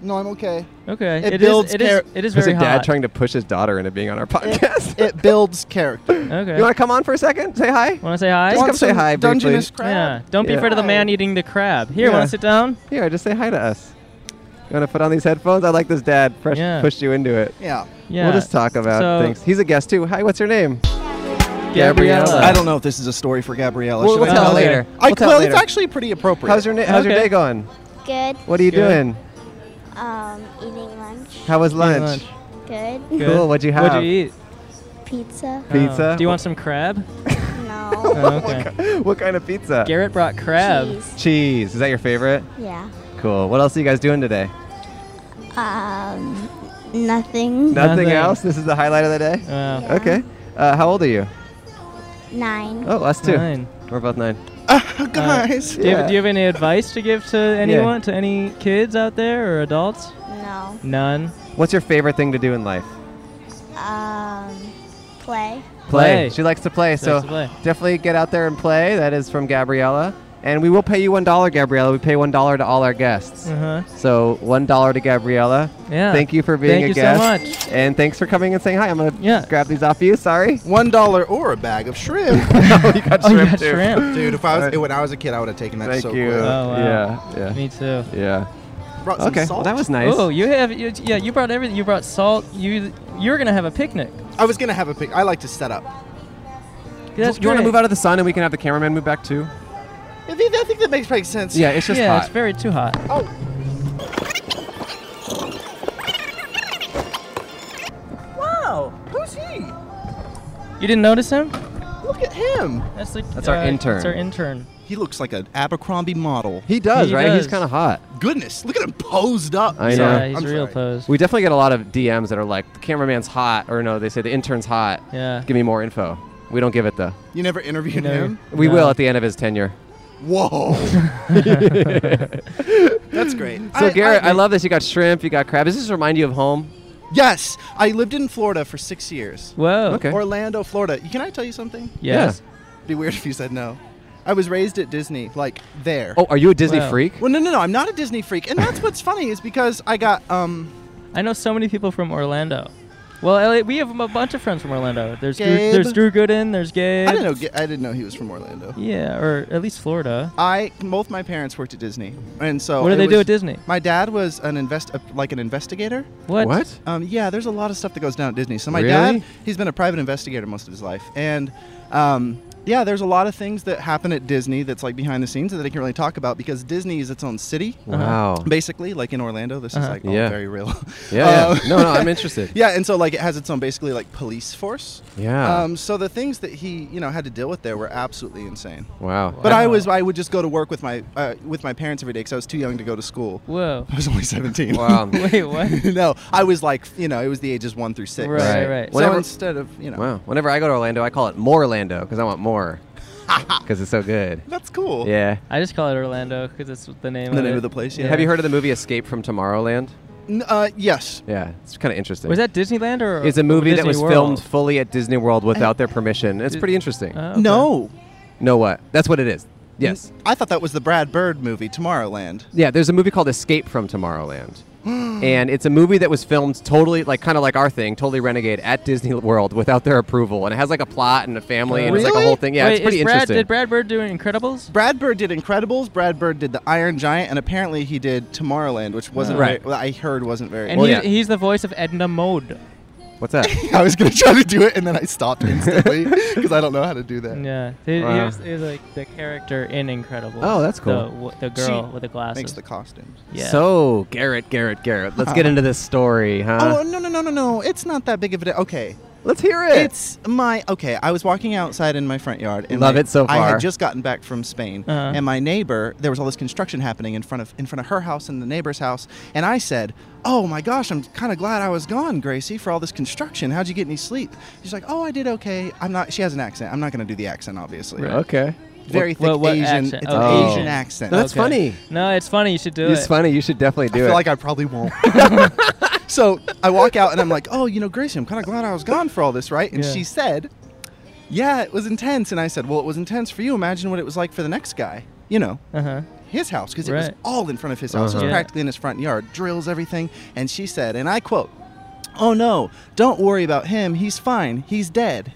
Speaker 15: No, I'm okay.
Speaker 4: Okay.
Speaker 15: It
Speaker 4: It is-
Speaker 15: builds
Speaker 4: it is-
Speaker 15: char-
Speaker 4: It is
Speaker 2: There's
Speaker 4: very
Speaker 2: a dad
Speaker 4: hot.
Speaker 2: trying to push his daughter into being on our podcast.
Speaker 15: It builds character.
Speaker 4: Okay.
Speaker 2: you want to come on for a second? Say hi.
Speaker 4: Want to say hi?
Speaker 2: Just
Speaker 15: Want
Speaker 2: come say
Speaker 15: some
Speaker 2: hi briefly.
Speaker 15: Dungeness
Speaker 4: Yeah.
Speaker 15: crab.
Speaker 4: Don't be
Speaker 2: Yeah.
Speaker 4: afraid of the man eating the crab. Here, want
Speaker 2: Yeah.
Speaker 4: to sit down?
Speaker 2: Here, just say hi to us. You want to put on these headphones? I like this dad. Fresh
Speaker 4: Yeah.
Speaker 2: pushed you into it.
Speaker 15: Yeah.
Speaker 4: Yeah.
Speaker 2: We'll just talk about
Speaker 4: so,
Speaker 2: things. He's a guest too. Hi, what's your name?
Speaker 4: Gabriella.
Speaker 2: Gabriella.
Speaker 15: I don't know if this is a story for Gabriella.
Speaker 2: We'll,
Speaker 15: Should
Speaker 2: we'll
Speaker 15: I
Speaker 4: tell
Speaker 2: tell
Speaker 4: her?
Speaker 2: later.
Speaker 15: I,
Speaker 2: We'll tell
Speaker 15: well,
Speaker 2: later.
Speaker 15: it's actually pretty appropriate.
Speaker 2: how's your na- how's your
Speaker 4: Okay.
Speaker 2: day going?
Speaker 17: Good.
Speaker 2: What are you
Speaker 4: Good.
Speaker 2: doing?
Speaker 17: Um, eating lunch.
Speaker 2: How was lunch?
Speaker 4: lunch.
Speaker 17: Good.
Speaker 4: Good.
Speaker 2: Cool. What'd you have?
Speaker 4: What'd you eat?
Speaker 17: Pizza.
Speaker 4: Oh.
Speaker 2: Pizza?
Speaker 4: Do you want some crab?
Speaker 17: No.
Speaker 4: Oh, okay.
Speaker 2: what kind of pizza?
Speaker 4: Garrett brought crab.
Speaker 17: Cheese.
Speaker 2: Cheese. Is that your favorite?
Speaker 17: Yeah.
Speaker 2: Cool. What else are you guys doing today?
Speaker 17: Um, nothing.
Speaker 2: Nothing
Speaker 4: Nothing.
Speaker 2: else. This is the highlight of the day. Uh,
Speaker 4: Wow.
Speaker 2: Okay. Uh, how old are you?
Speaker 17: Nine.
Speaker 2: Oh, us too.
Speaker 4: Fine.
Speaker 2: We're both nine.
Speaker 15: Oh,
Speaker 4: guys. do, you have, do you have any advice to give to anyone, to any kids out there or adults?
Speaker 17: No.
Speaker 4: None.
Speaker 2: What's your favorite thing to do in life?
Speaker 17: Um, play.
Speaker 4: Play.
Speaker 2: She likes to play.
Speaker 4: She
Speaker 2: so
Speaker 4: likes to play.
Speaker 2: definitely get out there and play. That is from Gabriella. And we will pay you one dollar, Gabriella. We pay one dollar to all our guests.
Speaker 4: Uh-huh.
Speaker 2: So one dollar to Gabriella.
Speaker 4: Yeah.
Speaker 2: Thank you for being
Speaker 4: Thank
Speaker 2: a
Speaker 4: you so
Speaker 2: guest.
Speaker 4: much.
Speaker 2: And thanks for coming and saying hi. I'm gonna grab these off you. Sorry.
Speaker 15: One dollar or a bag of shrimp.
Speaker 2: you got Oh, you shrimp, got too. shrimp.
Speaker 15: Dude, if I was
Speaker 2: Alright.
Speaker 15: when I was a kid, I would have taken that
Speaker 2: Thank
Speaker 15: so
Speaker 2: you.
Speaker 15: quick.
Speaker 4: Oh, wow.
Speaker 2: Yeah. Yeah.
Speaker 4: Me too.
Speaker 2: Yeah.
Speaker 15: Brought some
Speaker 2: okay.
Speaker 15: salt.
Speaker 2: Well, that was nice.
Speaker 4: Oh, you have you, yeah. You brought everything. You brought salt. You you're gonna have a picnic.
Speaker 15: I was gonna have a pic. I like to set up.
Speaker 4: That's
Speaker 2: you want to
Speaker 4: great.
Speaker 2: move out of the sun and we can have the cameraman move back too?
Speaker 14: I think, I think that makes perfect sense.
Speaker 2: Yeah, it's just
Speaker 4: yeah,
Speaker 2: hot.
Speaker 4: it's very too hot.
Speaker 14: Oh.
Speaker 15: Wow, who's he?
Speaker 4: You didn't notice him?
Speaker 15: Look at him.
Speaker 4: That's like uh,
Speaker 15: That's our intern.
Speaker 4: That's our intern.
Speaker 15: He looks like an Abercrombie model.
Speaker 2: He does, He right? He's does. kinda hot.
Speaker 15: Goodness, look at him posed up.
Speaker 2: I know.
Speaker 4: Yeah, he's real posed.
Speaker 2: We definitely get a lot of DMs that are like, the cameraman's hot, or no, they say the intern's hot.
Speaker 4: Yeah.
Speaker 2: Give me more info. We don't give it though.
Speaker 15: You never interviewed
Speaker 4: No.
Speaker 15: him?
Speaker 2: We
Speaker 4: No.
Speaker 2: will at the end of his tenure.
Speaker 15: Whoa. That's great.
Speaker 2: So,
Speaker 15: I-
Speaker 2: Garrett, I,
Speaker 15: I-
Speaker 2: love this. You got shrimp, you got crab. Does this remind you of home?
Speaker 15: Yes, I lived in Florida for six years.
Speaker 4: Whoa.
Speaker 2: Okay.
Speaker 15: Orlando, Florida. Can I tell you something?
Speaker 2: Yes.
Speaker 15: Be weird if you said no. I was raised at Disney, like there.
Speaker 2: Oh, are you a Disney Wow. freak?
Speaker 15: Well, no, no, no. I'm not a Disney freak, and that's what's funny is because I got um.
Speaker 4: I know so many people from Orlando. Well, Elliot, we have a bunch of friends from Orlando. There's Drew,
Speaker 15: Gabe.
Speaker 4: there's Drew Gooden. There's Gabe.
Speaker 15: I didn't know. Ga- I didn't know he was from Orlando.
Speaker 4: Yeah, or at least Florida.
Speaker 15: I both my parents worked at Disney, and so
Speaker 4: Uh-huh. What did
Speaker 15: it
Speaker 4: they do
Speaker 15: was-
Speaker 4: at Disney?
Speaker 15: My dad was an invest uh, like an investigator.
Speaker 4: What?
Speaker 2: What?
Speaker 15: Um, yeah, there's a lot of stuff that goes down at Disney. So my
Speaker 2: Really?
Speaker 15: dad, he's been a private investigator most of his life, and um, yeah, there's a lot of things that happen at Disney that's like behind the scenes that they can really talk about because Disney is its own city.
Speaker 2: Uh-huh. Wow.
Speaker 15: Basically, like in Orlando, this is
Speaker 2: Uh-huh.
Speaker 15: like all
Speaker 2: Yeah.
Speaker 15: very real.
Speaker 2: Yeah,
Speaker 15: Um,
Speaker 2: yeah. No, no, I'm interested.
Speaker 15: yeah, and so like it has its own basically like police force.
Speaker 2: Yeah.
Speaker 15: Um, so the things that he you know had to deal with there were absolutely insane.
Speaker 2: Wow.
Speaker 15: But I was I would just go to work with my uh, with my parents every day because I was too young to go to school.
Speaker 4: Whoa.
Speaker 15: I was only seventeen.
Speaker 2: Wow.
Speaker 4: Wait, what?
Speaker 15: no, I was like you know it was the ages one through six.
Speaker 4: Right, Right. right.
Speaker 15: So
Speaker 2: Whenever-
Speaker 15: instead of you know
Speaker 2: Wow. Whenever I go to Orlando, I call it more Orlando because I want more. Because it's so good.
Speaker 15: that's cool.
Speaker 2: Yeah.
Speaker 4: I just call it Orlando because it's the name.
Speaker 15: The
Speaker 4: of
Speaker 15: name
Speaker 4: it.
Speaker 15: of the place, yeah.
Speaker 2: Have you heard of the movie Escape from Tomorrowland?
Speaker 15: N- uh, yes.
Speaker 2: Yeah, it's kind of interesting.
Speaker 4: Was that Disneyland or?
Speaker 2: It's a
Speaker 4: or
Speaker 2: movie that
Speaker 4: Disney
Speaker 2: was
Speaker 4: World?
Speaker 2: filmed fully at Disney World without their permission. It's pretty interesting.
Speaker 4: Oh,
Speaker 15: No.
Speaker 2: No, what? That's what it is. Yes.
Speaker 15: I thought that was the Brad Bird movie Tomorrowland.
Speaker 2: Yeah, there's a movie called Escape from Tomorrowland. and it's a movie that was filmed totally, like, kind of like our thing, totally renegade at Disney World without their approval. And it has, like, a plot and a family and it's like a
Speaker 15: Really?
Speaker 2: whole thing. Yeah,
Speaker 4: Wait,
Speaker 2: it's pretty
Speaker 4: is Brad,
Speaker 2: interesting.
Speaker 4: Did Brad Bird do Incredibles?
Speaker 15: Brad Bird did Incredibles. Brad Bird did The Iron Giant, and apparently he did Tomorrowland, which wasn't
Speaker 2: Right.
Speaker 15: very- well, I heard wasn't very.
Speaker 4: And
Speaker 15: Well,
Speaker 4: he's,
Speaker 15: yeah.
Speaker 4: he's the voice of Edna Mode.
Speaker 2: What's that?
Speaker 15: I was gonna try to do it, and then I stopped instantly because I don't know how to do that.
Speaker 4: Yeah, he, he,
Speaker 2: Wow.
Speaker 4: was, he was like the character in Incredibles.
Speaker 2: Oh, that's cool.
Speaker 4: The, w- the girl
Speaker 15: She
Speaker 4: with the glasses.
Speaker 15: makes the costumes.
Speaker 4: Yeah.
Speaker 2: So, Garrett, Garrett, Garrett, let's get into this story, huh?
Speaker 15: oh no no no no no! It's not that big of a deal. Okay,
Speaker 2: Let's hear it.
Speaker 15: it's my okay. I was walking outside in my front yard. And
Speaker 2: Love
Speaker 15: my-
Speaker 2: it so
Speaker 15: I
Speaker 2: far.
Speaker 15: had just gotten back from Spain,
Speaker 2: Uh-huh.
Speaker 15: and my neighbor there was all this construction happening in front of in front of her house and the neighbor's house, and I said, "Oh my gosh, I'm kind of glad I was gone, Gracie, for all this construction. How'd you get any sleep?" She's like, "Oh, I did okay. I'm not." She has an accent. I'm not going to do the accent, obviously.
Speaker 2: Okay.
Speaker 15: Very
Speaker 4: What-
Speaker 15: thick
Speaker 4: what
Speaker 15: Asian.
Speaker 4: accent?
Speaker 15: It's
Speaker 2: Oh.
Speaker 15: an Asian accent.
Speaker 2: No, that's
Speaker 4: Okay.
Speaker 2: funny.
Speaker 4: No, it's funny. You should do
Speaker 2: It's
Speaker 4: it.
Speaker 2: funny. You should definitely do
Speaker 15: I
Speaker 2: it.
Speaker 15: feel like I probably won't. so I walk out and I'm like, oh, you know, Gracie, I'm kind of glad I was gone for all this, right? And
Speaker 4: Yeah.
Speaker 15: she said, yeah, it was intense. And I said, well, it was intense for you. Imagine what it was like for the next guy, you know,
Speaker 4: Uh huh.
Speaker 15: his house, because it
Speaker 4: Right.
Speaker 15: was all in front of his house. It
Speaker 4: Uh-huh.
Speaker 15: was
Speaker 4: Yeah.
Speaker 15: practically in his front yard, drills everything. And she said, and I quote, Oh no, don't worry about him. He's fine. He's dead.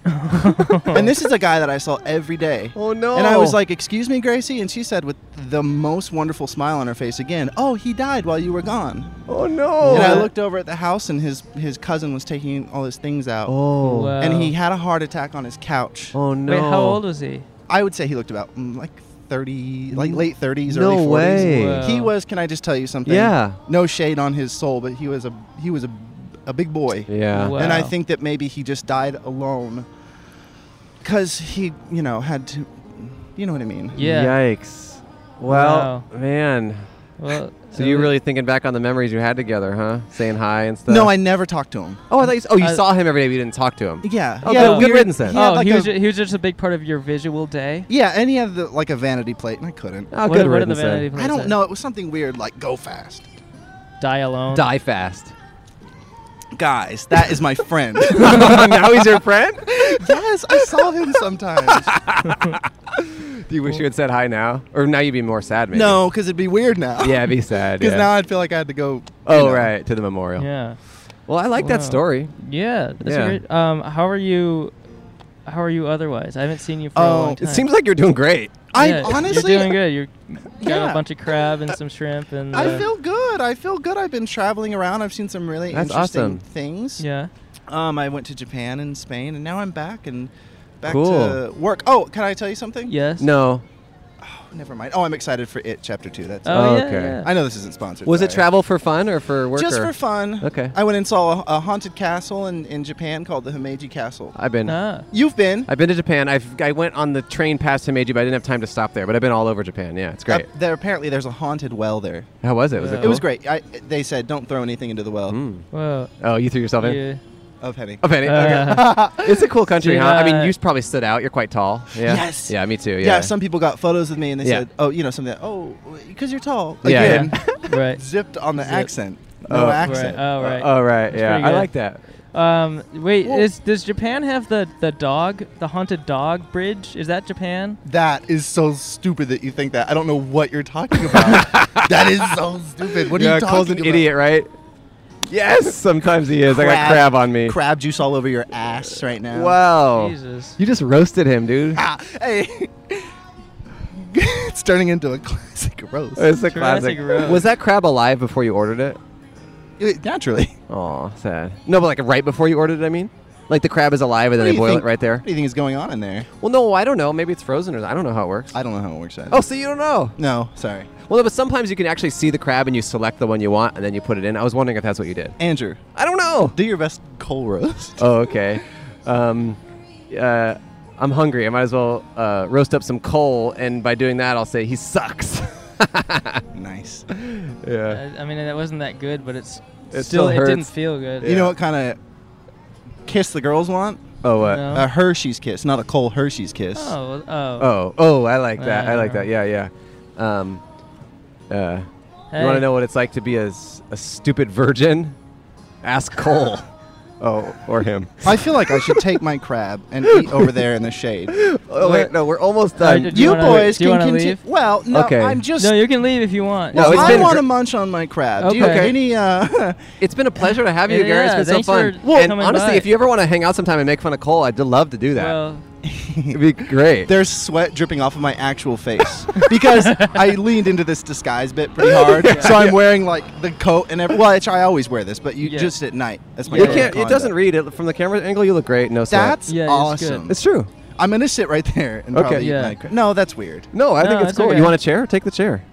Speaker 15: and this is a guy that I saw every day.
Speaker 2: Oh, no.
Speaker 15: And I was like, "Excuse me, Gracie," and she said with the most wonderful smile on her face again, "Oh, he died while you were gone."
Speaker 2: oh, no.
Speaker 15: And I looked over at the house, and his his cousin was taking all his things out.
Speaker 2: Oh.
Speaker 4: Wow.
Speaker 15: And he had a heart attack on his couch.
Speaker 2: Oh, no.
Speaker 4: Wait, how old was he?
Speaker 15: I would say he looked about mm, like. 30 like late 30s
Speaker 2: No
Speaker 15: early 40s
Speaker 2: way.
Speaker 4: Wow.
Speaker 15: he was can i just tell you something
Speaker 2: Yeah.
Speaker 15: no shade on his soul but he was a he was a, a big boy
Speaker 2: Yeah.
Speaker 4: Wow.
Speaker 15: and i think that maybe he just died alone because he you know had to you know what i mean
Speaker 4: Yeah.
Speaker 2: Yikes.
Speaker 4: Wow.
Speaker 2: Well, man.
Speaker 4: Well,
Speaker 2: So you really thinking back on the memories you had together, huh? Saying hi and stuff.
Speaker 15: No, I never talked to him.
Speaker 2: Oh, I thought you. s- Oh, you
Speaker 4: Uh,
Speaker 2: saw him every day, but you didn't talk to him.
Speaker 15: Yeah,
Speaker 2: Oh,
Speaker 15: yeah,
Speaker 2: good- good
Speaker 15: weird-
Speaker 2: riddance then.
Speaker 15: he had
Speaker 4: oh,
Speaker 15: like
Speaker 4: he, was
Speaker 15: a-
Speaker 4: ju- he was just a big part of your visual day.
Speaker 15: Yeah, and he had the, like a vanity plate, and I couldn't.
Speaker 2: Oh,
Speaker 4: What
Speaker 2: good
Speaker 4: are- what are the
Speaker 2: riddance then.
Speaker 4: vanity plates
Speaker 15: I don't
Speaker 4: say?
Speaker 15: know. It was something weird, like go fast,
Speaker 4: Die alone.
Speaker 2: Die fast.
Speaker 15: guys. That is my friend.
Speaker 2: now he's your friend.
Speaker 15: yes, I saw him sometimes.
Speaker 2: Do you wish you had said hi now, or now you'd be more sad? Maybe.
Speaker 15: no, because it'd be weird now.
Speaker 2: Yeah, it'd be sad.
Speaker 15: Because
Speaker 2: yeah.
Speaker 15: now I'd feel like I had to go. you
Speaker 2: Oh,
Speaker 15: know.
Speaker 2: right to the memorial.
Speaker 4: Yeah.
Speaker 2: Well, I like that
Speaker 4: Wow.
Speaker 2: story.
Speaker 4: Yeah, that's
Speaker 2: Yeah.
Speaker 4: A great. Um, how are you? How are you otherwise? I haven't seen you for a
Speaker 15: Oh,
Speaker 4: long
Speaker 15: it
Speaker 4: time.
Speaker 2: It seems like you're doing great.
Speaker 15: I
Speaker 4: Yeah,
Speaker 15: honestly-
Speaker 4: you're doing good. You got
Speaker 15: Yeah.
Speaker 4: a bunch of crab and some shrimp and.
Speaker 15: I
Speaker 4: uh,
Speaker 15: feel good. I feel good. I've been traveling around. I've seen some really
Speaker 2: That's
Speaker 15: interesting
Speaker 2: awesome.
Speaker 15: things.
Speaker 4: Yeah.
Speaker 15: Um, I went to Japan and Spain, and now I'm back and back
Speaker 2: Cool.
Speaker 15: to work. Oh, can I tell you something?
Speaker 4: Yes.
Speaker 2: No.
Speaker 15: Oh, never mind. Oh, I'm excited for it chapter two. That's
Speaker 4: Oh, yeah,
Speaker 2: Okay.
Speaker 4: yeah.
Speaker 15: I know this isn't sponsored.
Speaker 2: Was it
Speaker 15: sorry.
Speaker 2: travel for fun or for work?
Speaker 15: Just
Speaker 2: or-
Speaker 15: for fun.
Speaker 2: Okay.
Speaker 15: I went and saw a, a haunted castle in, in Japan called the Himeji Castle.
Speaker 2: I've been.
Speaker 4: Ah.
Speaker 15: You've been.
Speaker 2: I've been to Japan. I've I went on the train past Himeji, but I didn't have time to stop there. But I've been all over Japan. Yeah, it's
Speaker 4: Uh,
Speaker 2: great.
Speaker 15: Up there apparently there's a haunted well there.
Speaker 2: How was it? Was it?
Speaker 15: It was
Speaker 2: cool?
Speaker 15: great. I, they said don't throw anything into the well
Speaker 2: Mm.
Speaker 4: Well,
Speaker 2: Oh, you threw yourself in.
Speaker 4: yeah.
Speaker 15: of Henny.
Speaker 2: Oh, Penny.
Speaker 4: Uh,
Speaker 2: okay. it's a cool country,
Speaker 4: did
Speaker 2: huh? I mean,
Speaker 4: I-
Speaker 2: you probably stood out. You're quite tall. Yeah.
Speaker 15: Yes.
Speaker 2: Yeah, me too. Yeah.
Speaker 15: Yeah. some people got photos with me and they
Speaker 2: Yeah.
Speaker 15: said, "Oh, you know something. Oh, because you're tall."
Speaker 2: Yeah, yeah.
Speaker 15: Again,
Speaker 4: Right.
Speaker 15: zipped on the
Speaker 4: Zip.
Speaker 15: accent.
Speaker 2: Oh,
Speaker 15: No
Speaker 2: right.
Speaker 15: accent.
Speaker 4: Right. Oh, right.
Speaker 2: Oh, right.
Speaker 4: That's
Speaker 2: Yeah,
Speaker 4: pretty
Speaker 2: I
Speaker 4: good.
Speaker 2: like that.
Speaker 4: Um, wait,
Speaker 15: Well-
Speaker 4: is, does Japan have the, the dog, the haunted dog bridge? Is that Japan?
Speaker 15: That is so stupid that you think that. I don't know what you're talking about. that is so stupid. What are
Speaker 2: yeah,
Speaker 15: you
Speaker 2: Cole's
Speaker 15: talking
Speaker 2: an
Speaker 15: about?
Speaker 2: idiot, right? Yes. Sometimes he is. I got
Speaker 15: Crab.
Speaker 2: crab on me.
Speaker 15: Crab juice all over your ass right now.
Speaker 2: Wow.
Speaker 4: Jesus.
Speaker 2: You just roasted him, dude.
Speaker 15: Ah, hey. it's turning into a classic roast.
Speaker 2: It's a
Speaker 4: Jurassic
Speaker 2: classic.
Speaker 4: Road.
Speaker 2: Was that crab alive before you ordered it?
Speaker 15: It- naturally.
Speaker 2: Oh, sad. No, but like right before you ordered it, I mean? Like the crab is alive and
Speaker 15: What
Speaker 2: then
Speaker 15: do
Speaker 2: they
Speaker 15: you
Speaker 2: boil
Speaker 15: think-
Speaker 2: it right there?
Speaker 15: What do you think is going on in there?
Speaker 2: Well, no, I don't know. Maybe it's frozen or I don't know how it works.
Speaker 15: I don't know how it works either.
Speaker 2: Oh, so you don't know?
Speaker 15: no, sorry.
Speaker 2: Well, no, but sometimes you can actually see the crab and you select the one you want and then you put it in. I was wondering if that's what you did.
Speaker 15: Andrew,
Speaker 2: I don't know.
Speaker 15: do your best coal roast.
Speaker 2: Oh, okay. Um, uh, I'm hungry. I might as well uh, roast up some coal, and by doing that, I'll say he sucks.
Speaker 15: nice.
Speaker 2: yeah.
Speaker 4: I, I mean, it wasn't that good, but it's
Speaker 2: It
Speaker 4: still,
Speaker 2: still
Speaker 4: it didn't
Speaker 2: hurts.
Speaker 4: feel good.
Speaker 15: You know what kind of kiss the girls want?
Speaker 2: Oh, what?
Speaker 4: No.
Speaker 15: A Hershey's kiss, not a Cole Hershey's kiss.
Speaker 4: Oh, oh.
Speaker 2: Oh, oh, I like that. I like
Speaker 4: Uh.
Speaker 2: that. Yeah, yeah. Um, uh, You
Speaker 4: Hey.
Speaker 2: want to know what it's like to be a, s- a stupid virgin? Ask Cole. oh, or him.
Speaker 15: I feel like I should take my crab and eat over there in the shade.
Speaker 2: Oh, wait,
Speaker 4: What?
Speaker 2: no, we're almost
Speaker 4: All right,
Speaker 2: done.
Speaker 4: did
Speaker 15: you
Speaker 4: wanna-
Speaker 15: boys
Speaker 4: do you
Speaker 15: can
Speaker 4: wanna
Speaker 15: continue.
Speaker 4: leave?
Speaker 15: Well, no,
Speaker 2: Okay.
Speaker 15: I'm just.
Speaker 4: No, you can leave if you want.
Speaker 2: No, it's
Speaker 15: I
Speaker 2: been
Speaker 15: want
Speaker 2: gr-
Speaker 15: to munch on my crab. Do you
Speaker 4: Okay.
Speaker 15: have any? Uh,
Speaker 2: It's been a pleasure to have you,
Speaker 4: Yeah,
Speaker 2: Gary. It's
Speaker 4: yeah,
Speaker 2: been so
Speaker 4: thanks
Speaker 2: fun.
Speaker 4: for
Speaker 2: and
Speaker 4: coming
Speaker 2: honestly,
Speaker 4: by.
Speaker 2: if you ever want to hang out sometime and make fun of Cole, I'd love to do that.
Speaker 4: Well,
Speaker 2: It'd be great.
Speaker 15: there's sweat dripping off of my actual face because I leaned into this disguise bit pretty hard. So I'm wearing like the coat and everything. Well, which I always wear this, but you
Speaker 4: Yeah.
Speaker 15: just at night. That's my.
Speaker 2: You
Speaker 15: code of
Speaker 2: can't. It
Speaker 15: conduct.
Speaker 2: doesn't read it from the camera angle. You look great. No sweat.
Speaker 15: That's
Speaker 4: Yeah, it's good.
Speaker 15: awesome.
Speaker 2: it's true.
Speaker 15: I'm gonna sit right there and
Speaker 2: Okay.
Speaker 15: probably
Speaker 4: Yeah.
Speaker 15: eat my crab. No, that's weird.
Speaker 2: No, I
Speaker 4: No,
Speaker 2: think it's
Speaker 4: it's
Speaker 2: cool.
Speaker 4: okay.
Speaker 2: You want a chair? Take the chair,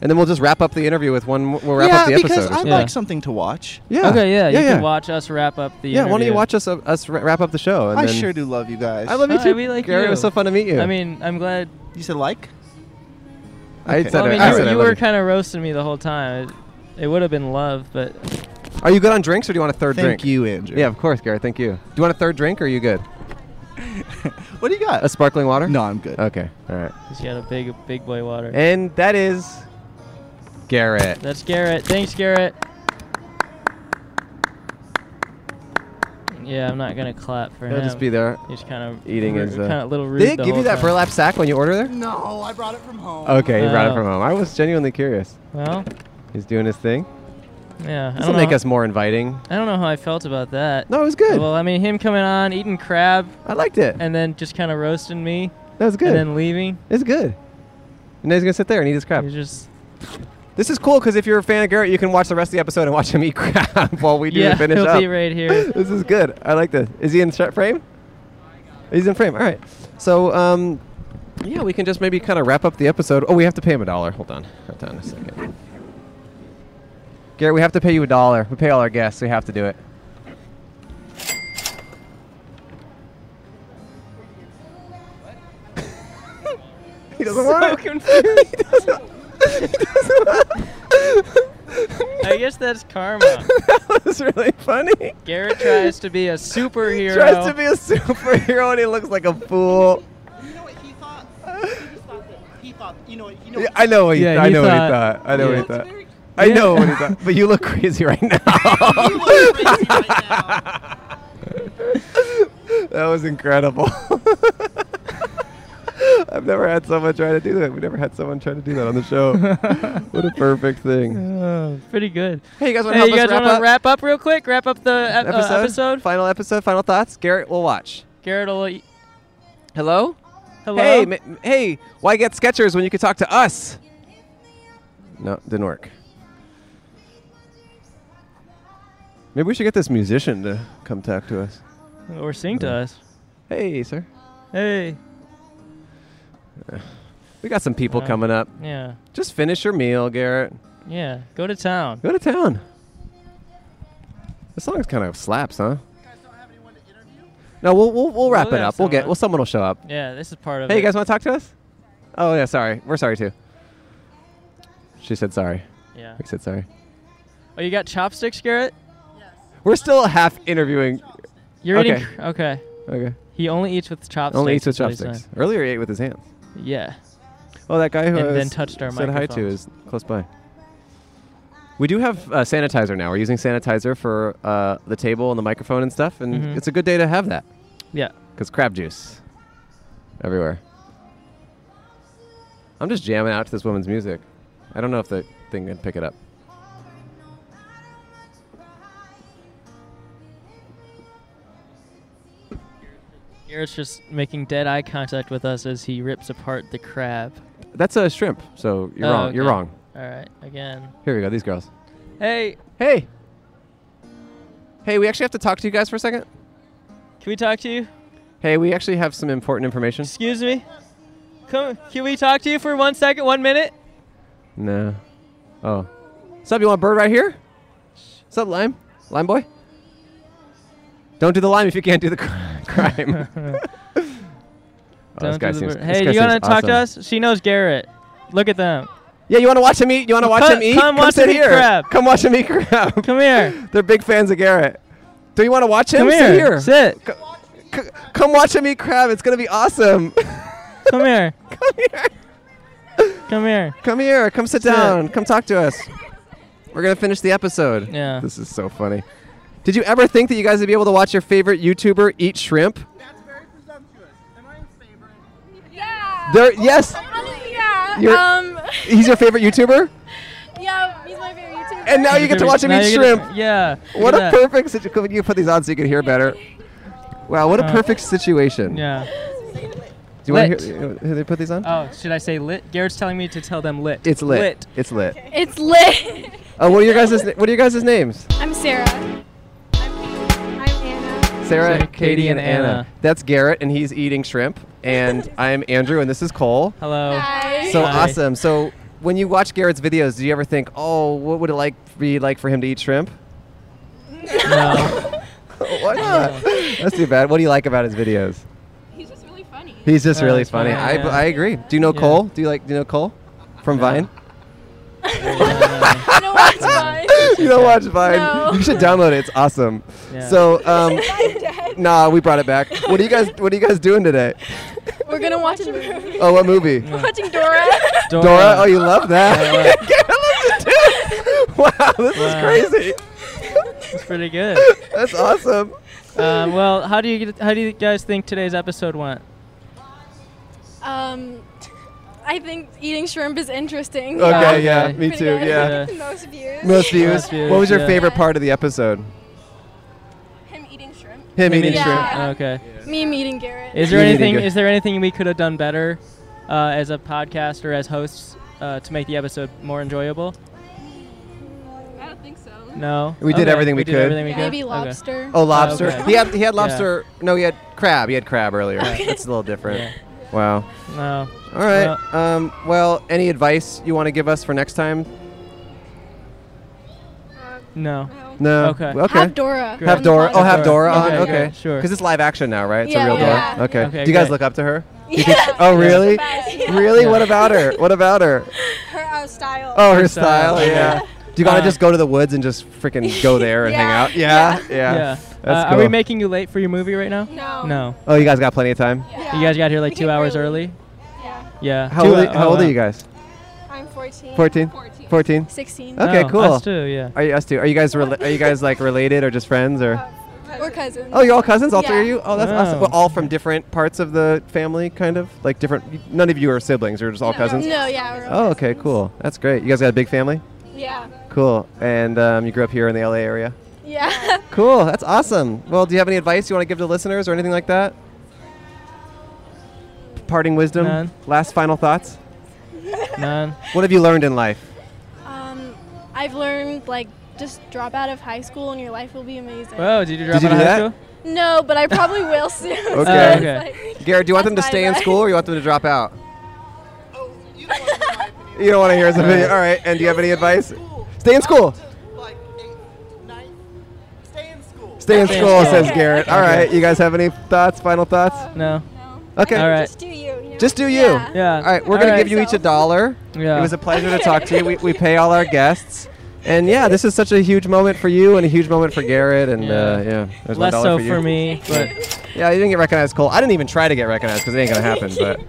Speaker 2: and then we'll just wrap up the interview with one. mo- We'll wrap
Speaker 15: yeah,
Speaker 2: up the
Speaker 15: because
Speaker 2: episode.
Speaker 15: I
Speaker 2: or
Speaker 4: Yeah.
Speaker 15: like something to watch.
Speaker 2: something. yeah.
Speaker 4: Okay, yeah,
Speaker 2: Yeah.
Speaker 4: you
Speaker 2: yeah.
Speaker 4: can watch us wrap up the
Speaker 2: yeah. Why don't you
Speaker 4: interview.
Speaker 2: watch us uh, us ra- wrap up the show? And
Speaker 15: I
Speaker 2: then
Speaker 15: sure do love you guys.
Speaker 2: I love you
Speaker 4: Hi,
Speaker 2: too.
Speaker 4: we like
Speaker 2: Gary. It was
Speaker 4: you.
Speaker 2: so fun to meet you.
Speaker 4: I mean, I'm glad.
Speaker 15: You said like?
Speaker 2: I
Speaker 15: okay.
Speaker 2: said,
Speaker 4: Well, I
Speaker 2: I
Speaker 4: mean,
Speaker 2: I
Speaker 4: you,
Speaker 2: said I
Speaker 4: you
Speaker 2: love
Speaker 4: were
Speaker 2: you.
Speaker 4: kind of roasting me the whole time. It, it would have been love, but
Speaker 2: Are you good on drinks, or do you want a third
Speaker 15: Thank
Speaker 2: drink?
Speaker 15: you, Andrew.
Speaker 2: Yeah, of course, Gary. Thank you. Do you want a third drink, or are you good?
Speaker 15: What do you got?
Speaker 2: A sparkling water?
Speaker 15: no, I'm good.
Speaker 2: Okay. All right.
Speaker 4: he's got a big, big boy water.
Speaker 2: And that is Garrett.
Speaker 4: That's Garrett. Thanks, Garrett. Yeah, I'm not gonna clap for
Speaker 2: He'll
Speaker 4: him.
Speaker 2: just be there.
Speaker 4: He's kind of
Speaker 2: eating his, uh,
Speaker 4: kind of little rude. the
Speaker 2: Did they give you
Speaker 4: whole
Speaker 2: that
Speaker 4: time.
Speaker 2: burlap sack when you order there?
Speaker 15: No, I brought it from home.
Speaker 2: Okay, he brought it
Speaker 4: Oh.
Speaker 2: from home. I was genuinely curious.
Speaker 4: Well,
Speaker 2: He's doing his thing.
Speaker 4: yeah. I
Speaker 2: This
Speaker 4: don't
Speaker 2: will
Speaker 4: know
Speaker 2: make
Speaker 4: how-
Speaker 2: us more inviting.
Speaker 4: I don't know how I felt about that.
Speaker 2: No, it was good.
Speaker 4: Well, I mean, him coming on, eating crab,
Speaker 2: I liked it.
Speaker 4: and then just kind of roasting me,
Speaker 2: that was good.
Speaker 4: and then leaving.
Speaker 2: it's good. And now he's gonna sit there and eat his crab.
Speaker 4: He's just
Speaker 2: This is cool because if you're a fan of Garrett, you can watch the rest of the episode and watch him eat crab while we do
Speaker 4: yeah,
Speaker 2: the finish
Speaker 4: he'll
Speaker 2: up.
Speaker 4: be right here.
Speaker 2: this is good. I like this. Is he in sh- frame? He's in frame. All right. So, um, yeah, we can just maybe kind of wrap up the episode. Oh, we have to pay him a dollar. Hold on. Hold on a second. Garrett, we have to pay you a dollar. We pay all our guests. We have to do it. he doesn't want it.
Speaker 4: guess that's karma.
Speaker 2: That's really funny.
Speaker 4: Garrett tries to be a superhero.
Speaker 2: Tries to be a superhero and he looks like a fool. Yeah, I know what he,
Speaker 4: Yeah,
Speaker 2: I
Speaker 4: he
Speaker 2: know what he
Speaker 4: thought-
Speaker 2: thought. I know
Speaker 4: Yeah.
Speaker 2: what he thought. I know what he thought. But you look crazy right now. that was incredible. I've never had someone try to do that. We never had someone try to do that on the show. what a perfect thing.
Speaker 4: Oh, pretty good.
Speaker 2: Hey, you guys wanna
Speaker 4: hey, you
Speaker 2: help us
Speaker 4: guys
Speaker 2: wrap
Speaker 4: wanna
Speaker 2: up?
Speaker 4: wrap up real quick? Wrap up the ep- uh,
Speaker 2: Episode?
Speaker 4: episode?
Speaker 2: Final episode, final thoughts. Garrett will watch.
Speaker 4: Garrett will. e-
Speaker 2: Hello?
Speaker 4: Hello?
Speaker 2: Hey, m- m- hey, why get Skechers when you could talk to us? No, didn't work. Maybe we should get this musician to come talk to us.
Speaker 4: Or sing to us.
Speaker 2: Hey, sir.
Speaker 4: Hey.
Speaker 2: We got some people
Speaker 4: Uh,
Speaker 2: coming up.
Speaker 4: yeah.
Speaker 2: Just finish your meal, Garrett.
Speaker 4: Yeah. Go to town.
Speaker 2: Go to town. The song's kind of slaps, huh? No, we'll we'll, we'll wrap
Speaker 4: We'll
Speaker 2: it
Speaker 4: have
Speaker 2: up. We'll get
Speaker 4: someone.
Speaker 2: well someone will show up.
Speaker 4: Yeah, this is part of
Speaker 2: Hey,
Speaker 4: it.
Speaker 2: you guys want to talk to us? Oh yeah, sorry. We're sorry too. She said sorry.
Speaker 4: Yeah.
Speaker 2: We said sorry.
Speaker 4: Oh, you got chopsticks, Garrett?
Speaker 2: We're still half interviewing.
Speaker 4: You're
Speaker 2: okay.
Speaker 4: eating. Cr- okay.
Speaker 2: Okay.
Speaker 4: He only eats with chopsticks.
Speaker 2: Only eats with
Speaker 4: is what he said.
Speaker 2: chopsticks. Earlier he ate with his hands.
Speaker 4: Yeah.
Speaker 2: Oh, that guy who
Speaker 4: And
Speaker 2: I
Speaker 4: then
Speaker 2: was-
Speaker 4: touched our
Speaker 2: said hi to
Speaker 4: microphones.
Speaker 2: is close by. We do have uh, sanitizer now. We're using sanitizer for uh, the table and the microphone and stuff, and
Speaker 4: Mhm.
Speaker 2: it's a good day to have that.
Speaker 4: Yeah.
Speaker 2: Because crab juice everywhere. I'm just jamming out to this woman's music. I don't know if the thing can pick it up.
Speaker 4: Garrett's just making dead eye contact with us as he rips apart the crab.
Speaker 2: That's a shrimp, so you're
Speaker 4: Oh,
Speaker 2: wrong. You're
Speaker 4: okay.
Speaker 2: wrong.
Speaker 4: All right, again.
Speaker 2: Here we go. These girls.
Speaker 4: Hey,
Speaker 2: Hey. Hey, we actually have to talk to you guys for a second.
Speaker 4: can we talk to you?
Speaker 2: Hey, we actually have some important information.
Speaker 4: Excuse me. Come, can we talk to you for one second, one minute?
Speaker 2: No. Oh. Sup, you want a bird right here? Sup, Lime? Lime boy? Don't do the lime if you can't do the cri- crime. oh, this
Speaker 4: Don't
Speaker 2: guy
Speaker 4: do the
Speaker 2: seems,
Speaker 4: ver-
Speaker 2: Oh, this
Speaker 4: hey, do
Speaker 2: guy
Speaker 4: you want to
Speaker 2: seems
Speaker 4: talk to
Speaker 2: awesome.
Speaker 4: us? She knows Garrett. Look at them.
Speaker 2: Yeah, you want to watch him eat? You want to
Speaker 4: Well,
Speaker 2: watch
Speaker 4: come-
Speaker 2: him eat?
Speaker 4: come watch
Speaker 2: sit
Speaker 4: him eat
Speaker 2: here.
Speaker 4: crab.
Speaker 2: Come watch him eat crab.
Speaker 4: Come here.
Speaker 2: They're big fans of Garrett. Do you want to watch him?
Speaker 4: Come
Speaker 2: Sit
Speaker 4: here.
Speaker 2: here.
Speaker 4: Sit.
Speaker 2: C- c- come watch him eat crab. It's going to be awesome.
Speaker 4: Come here. Come here.
Speaker 2: Come here. Come sit,
Speaker 4: Sit.
Speaker 2: down. Come talk to us. We're going to finish the episode.
Speaker 4: Yeah.
Speaker 2: This is so funny. Did you ever think that you guys would be able to watch your favorite YouTuber eat shrimp? There, yes.
Speaker 10: Yeah.
Speaker 2: You're-
Speaker 10: um.
Speaker 2: He's your favorite YouTuber?
Speaker 10: yeah, he's my favorite YouTuber.
Speaker 2: And now you get to watch him
Speaker 4: Now
Speaker 2: eat
Speaker 4: you get
Speaker 2: shrimp.
Speaker 4: to- yeah. look
Speaker 2: What a
Speaker 4: at that.
Speaker 2: perfect situation. You can put these on so you can hear better. Wow, what a
Speaker 4: Uh,
Speaker 2: perfect situation.
Speaker 4: Yeah.
Speaker 2: Do you want
Speaker 4: Lit.
Speaker 2: to hear, uh, they put these on?
Speaker 4: Oh, should I say lit? Garrett's telling me to tell them lit.
Speaker 2: it's lit.
Speaker 4: Lit.
Speaker 2: It's lit.
Speaker 7: It's lit.
Speaker 2: Oh, what are your guys' na- what are your guys' names?
Speaker 7: I'm Sarah.
Speaker 2: Sarah,
Speaker 4: Sarah,
Speaker 2: Katie, and Anna.
Speaker 4: Anna.
Speaker 2: That's Garrett, and he's eating shrimp. And I'm Andrew, and this is Cole.
Speaker 4: Hello.
Speaker 10: Hi.
Speaker 2: So
Speaker 4: Hi.
Speaker 2: awesome. So when you watch Garrett's videos, do you ever think, oh, what would it like be like for him to eat shrimp?
Speaker 4: No.
Speaker 2: Why not? That's too bad. What do you like about his videos?
Speaker 5: He's just really funny.
Speaker 2: He's just
Speaker 4: Oh,
Speaker 2: really
Speaker 4: that's
Speaker 2: funny.
Speaker 4: funny,
Speaker 2: I,
Speaker 4: yeah.
Speaker 2: I agree. Do you know
Speaker 4: Yeah.
Speaker 2: Cole? Do you like do you know Cole from Vine?
Speaker 10: I don't watch mine.
Speaker 2: you don't watch Vine.
Speaker 10: No.
Speaker 2: You should download it. It's awesome.
Speaker 4: Yeah.
Speaker 2: So, um, nah, we brought it back. What are you guys? What are you guys doing today?
Speaker 10: We're gonna watch a movie.
Speaker 2: Oh, what movie?
Speaker 10: We're watching Dora.
Speaker 2: Dora. Oh, you love that. wow, this
Speaker 4: Wow.
Speaker 2: is crazy.
Speaker 4: It's pretty good.
Speaker 2: That's awesome.
Speaker 4: Um, well, how do you get, how do you guys think today's episode went?
Speaker 7: Um, I think eating shrimp is interesting.
Speaker 2: Okay,
Speaker 4: okay.
Speaker 2: yeah, me
Speaker 7: Pretty
Speaker 2: too.
Speaker 7: good.
Speaker 2: Yeah.
Speaker 7: Most views.
Speaker 2: Most views.
Speaker 4: Most views,
Speaker 2: What was your
Speaker 4: yeah.
Speaker 2: favorite part of the episode?
Speaker 7: Him eating shrimp.
Speaker 2: Him
Speaker 4: Him
Speaker 2: eating
Speaker 4: eating
Speaker 2: shrimp.
Speaker 7: Yeah.
Speaker 4: Okay.
Speaker 7: Me meeting Garrett.
Speaker 4: Is there
Speaker 2: You need to
Speaker 4: anything
Speaker 2: go-
Speaker 4: is there anything we could have done better uh, as a podcast or as hosts uh, to make the episode more enjoyable?
Speaker 5: I don't think so.
Speaker 4: No.
Speaker 2: We did
Speaker 4: Okay,
Speaker 2: everything we
Speaker 4: did
Speaker 2: could.
Speaker 4: everything we could.
Speaker 7: Maybe
Speaker 4: Okay.
Speaker 7: lobster.
Speaker 2: Oh, lobster.
Speaker 4: okay.
Speaker 2: He had he had
Speaker 4: Yeah.
Speaker 2: lobster. No, he had crab. He had crab earlier. That's a little different. Wow.
Speaker 4: No.
Speaker 2: All right. um, well, any advice you want to give us for next time?
Speaker 4: No.
Speaker 2: No.
Speaker 4: Okay.
Speaker 2: Okay.
Speaker 7: Have Dora.
Speaker 4: Good.
Speaker 2: Have Dora. Oh, have
Speaker 4: Have
Speaker 2: Dora
Speaker 4: Dora.
Speaker 2: on.
Speaker 4: Okay,
Speaker 2: Okay.
Speaker 4: good, sure.
Speaker 2: Because it's live action now, right? It's
Speaker 7: Yeah,
Speaker 2: a real
Speaker 7: yeah.
Speaker 2: Dora. Okay.
Speaker 4: Okay,
Speaker 2: Do you guys
Speaker 4: great.
Speaker 2: look up to her? You
Speaker 7: Yeah.
Speaker 2: think- oh, really?
Speaker 7: Yeah.
Speaker 2: Really? What about her? What about her?
Speaker 7: Her uh, style.
Speaker 2: Oh, her
Speaker 4: style,
Speaker 2: style. Yeah. Do you gotta
Speaker 4: Uh,
Speaker 2: just go to the woods and just freaking go there and hang
Speaker 4: Yeah.
Speaker 2: out? Yeah, yeah.
Speaker 4: Uh,
Speaker 2: That's
Speaker 4: Are we
Speaker 2: cool.
Speaker 4: making you late for your movie right now?
Speaker 7: Um,
Speaker 4: No. No.
Speaker 2: Oh, you guys got plenty of time.
Speaker 4: You guys got here like two hours early. Yeah. Yeah.
Speaker 2: How
Speaker 4: Two
Speaker 2: old,
Speaker 4: hou-
Speaker 2: are, how
Speaker 4: oh,
Speaker 2: old
Speaker 4: wow.
Speaker 2: are you guys?
Speaker 10: I'm 14.
Speaker 2: 14? 14?
Speaker 18: 16.
Speaker 2: Okay,
Speaker 4: Oh,
Speaker 2: cool.
Speaker 4: us too, yeah.
Speaker 2: Are you us two? Are you guys rela- are you guys like related or just friends or?
Speaker 18: We're cousins.
Speaker 2: Oh, you're all cousins, all three of you. Oh, that's
Speaker 18: Yeah.
Speaker 2: awesome. But all from different parts of the family, kind of like different. None of you are siblings. You're just all cousins.
Speaker 18: No, yeah, we're all
Speaker 2: Oh, okay, cool. That's great. You guys got a big family.
Speaker 18: Yeah.
Speaker 2: Cool. And um, you grew up here in the LA area.
Speaker 18: Yeah.
Speaker 2: Cool. That's awesome. Well, do you have any advice you want to give to listeners or anything like that? Parting wisdom.
Speaker 4: None.
Speaker 2: Last final thoughts.
Speaker 4: None.
Speaker 2: What have you learned in life?
Speaker 18: Um, I've learned like just drop out of high school and your life will be amazing.
Speaker 4: Whoa, did you drop
Speaker 2: Did you
Speaker 4: out of high
Speaker 2: do that?
Speaker 4: school?
Speaker 18: No, but I probably will soon. so
Speaker 2: Okay.
Speaker 18: it's
Speaker 2: okay.
Speaker 18: like-
Speaker 2: Garrett, do you want them to
Speaker 18: that's my
Speaker 2: stay in
Speaker 18: advice.
Speaker 2: school or you want them to drop out? Oh, You don't want to hear his opinion. All right. And do you have any advice? Stay in school. Stay in
Speaker 4: Stay in
Speaker 2: school,
Speaker 4: school.
Speaker 2: says Garrett. All
Speaker 4: Okay.
Speaker 2: right. You guys have any thoughts? Final thoughts?
Speaker 4: No.
Speaker 2: Okay.
Speaker 4: All right.
Speaker 18: do you.
Speaker 2: Just do you.
Speaker 4: Yeah.
Speaker 2: All right. We're
Speaker 4: All
Speaker 2: gonna
Speaker 4: right.
Speaker 2: give you each a dollar.
Speaker 4: Yeah.
Speaker 2: It was a pleasure to talk to you. We, we pay all our guests. And yeah, this is such a huge moment for you and a huge moment for Garrett. And yeah, uh, yeah there's one
Speaker 4: Less
Speaker 2: dollar
Speaker 4: so
Speaker 2: for you.
Speaker 4: for me, but
Speaker 2: Yeah, you didn't get recognized, Cole. I didn't even try to get recognized because it ain't gonna happen. But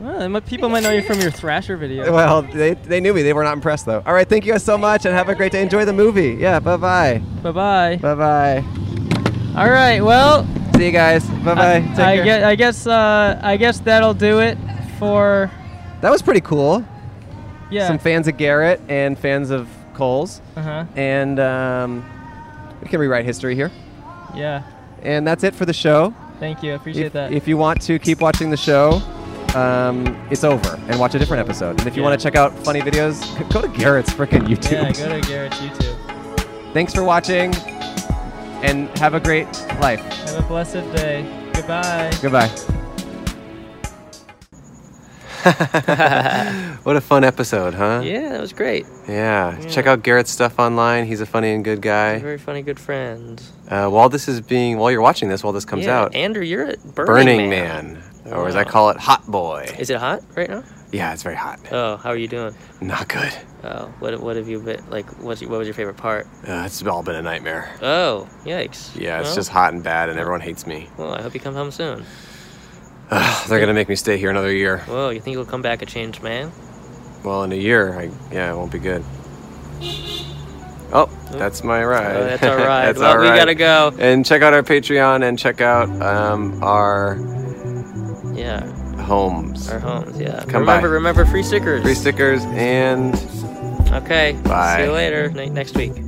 Speaker 4: well, it might- people might know you from your Thrasher video.
Speaker 2: well, they, they knew me. They were not impressed though. All right, thank you guys so much, and have a great day. Enjoy the movie. Yeah, bye bye.
Speaker 4: Bye bye.
Speaker 2: Bye bye.
Speaker 4: All right. Well.
Speaker 2: See you guys. Bye bye. Take
Speaker 4: I,
Speaker 2: care.
Speaker 4: guess, I guess. Uh, I guess that'll do it for.
Speaker 2: That was pretty cool.
Speaker 4: Yeah.
Speaker 2: Some fans of Garrett and fans of Cole's.
Speaker 4: Uh-huh.
Speaker 2: And um, we can rewrite history here.
Speaker 4: Yeah.
Speaker 2: And that's it for the show.
Speaker 4: Thank you. I appreciate
Speaker 2: if,
Speaker 4: that.
Speaker 2: If you want to keep watching the show, um, it's over and watch a different episode. And if you
Speaker 4: Yeah.
Speaker 2: want to check out funny videos, go to Garrett's freaking YouTube.
Speaker 4: Yeah. Go to Garrett's YouTube.
Speaker 2: Thanks for watching and have a great life.
Speaker 4: Have a blessed day. Goodbye.
Speaker 2: Goodbye. what a fun episode, huh?
Speaker 1: Yeah, that was great.
Speaker 2: Yeah.
Speaker 1: Yeah.
Speaker 2: Check out Garrett's stuff online. He's a funny and good guy.
Speaker 1: Very funny, good friend.
Speaker 2: Uh, while this is being, while you're watching this, while this comes
Speaker 1: Yeah,
Speaker 2: out,
Speaker 1: Andrew, you're at Burning,
Speaker 2: Burning
Speaker 1: Man.
Speaker 2: Man, or as I
Speaker 1: Wow.
Speaker 2: call it, Hot Boy.
Speaker 1: Is it hot right now?
Speaker 2: Yeah, it's very hot.
Speaker 1: Oh, how are you doing?
Speaker 2: Not good.
Speaker 1: Oh, what what have you been like? What's your, what was your favorite part?
Speaker 2: Uh, it's all been a nightmare.
Speaker 1: Oh, yikes.
Speaker 2: Yeah, it's
Speaker 1: Well,
Speaker 2: just hot and bad, and everyone hates me.
Speaker 1: Well, I hope you come home soon.
Speaker 2: Ugh, they're gonna make me stay here another year.
Speaker 1: Whoa, you think you'll come back a changed man?
Speaker 2: Well, in a year, I yeah, it won't be good. Oh, that's my ride.
Speaker 1: Oh, that's our ride.
Speaker 2: That's
Speaker 1: Well,
Speaker 2: our
Speaker 1: we
Speaker 2: ride.
Speaker 1: gotta go.
Speaker 2: And check out our Patreon and check out um, our
Speaker 1: Yeah,
Speaker 2: homes.
Speaker 1: our homes. Yeah.
Speaker 2: Come
Speaker 1: remember,
Speaker 2: by.
Speaker 1: remember free stickers.
Speaker 2: Free stickers and
Speaker 1: Okay.
Speaker 2: Bye.
Speaker 1: See you later. N- next week.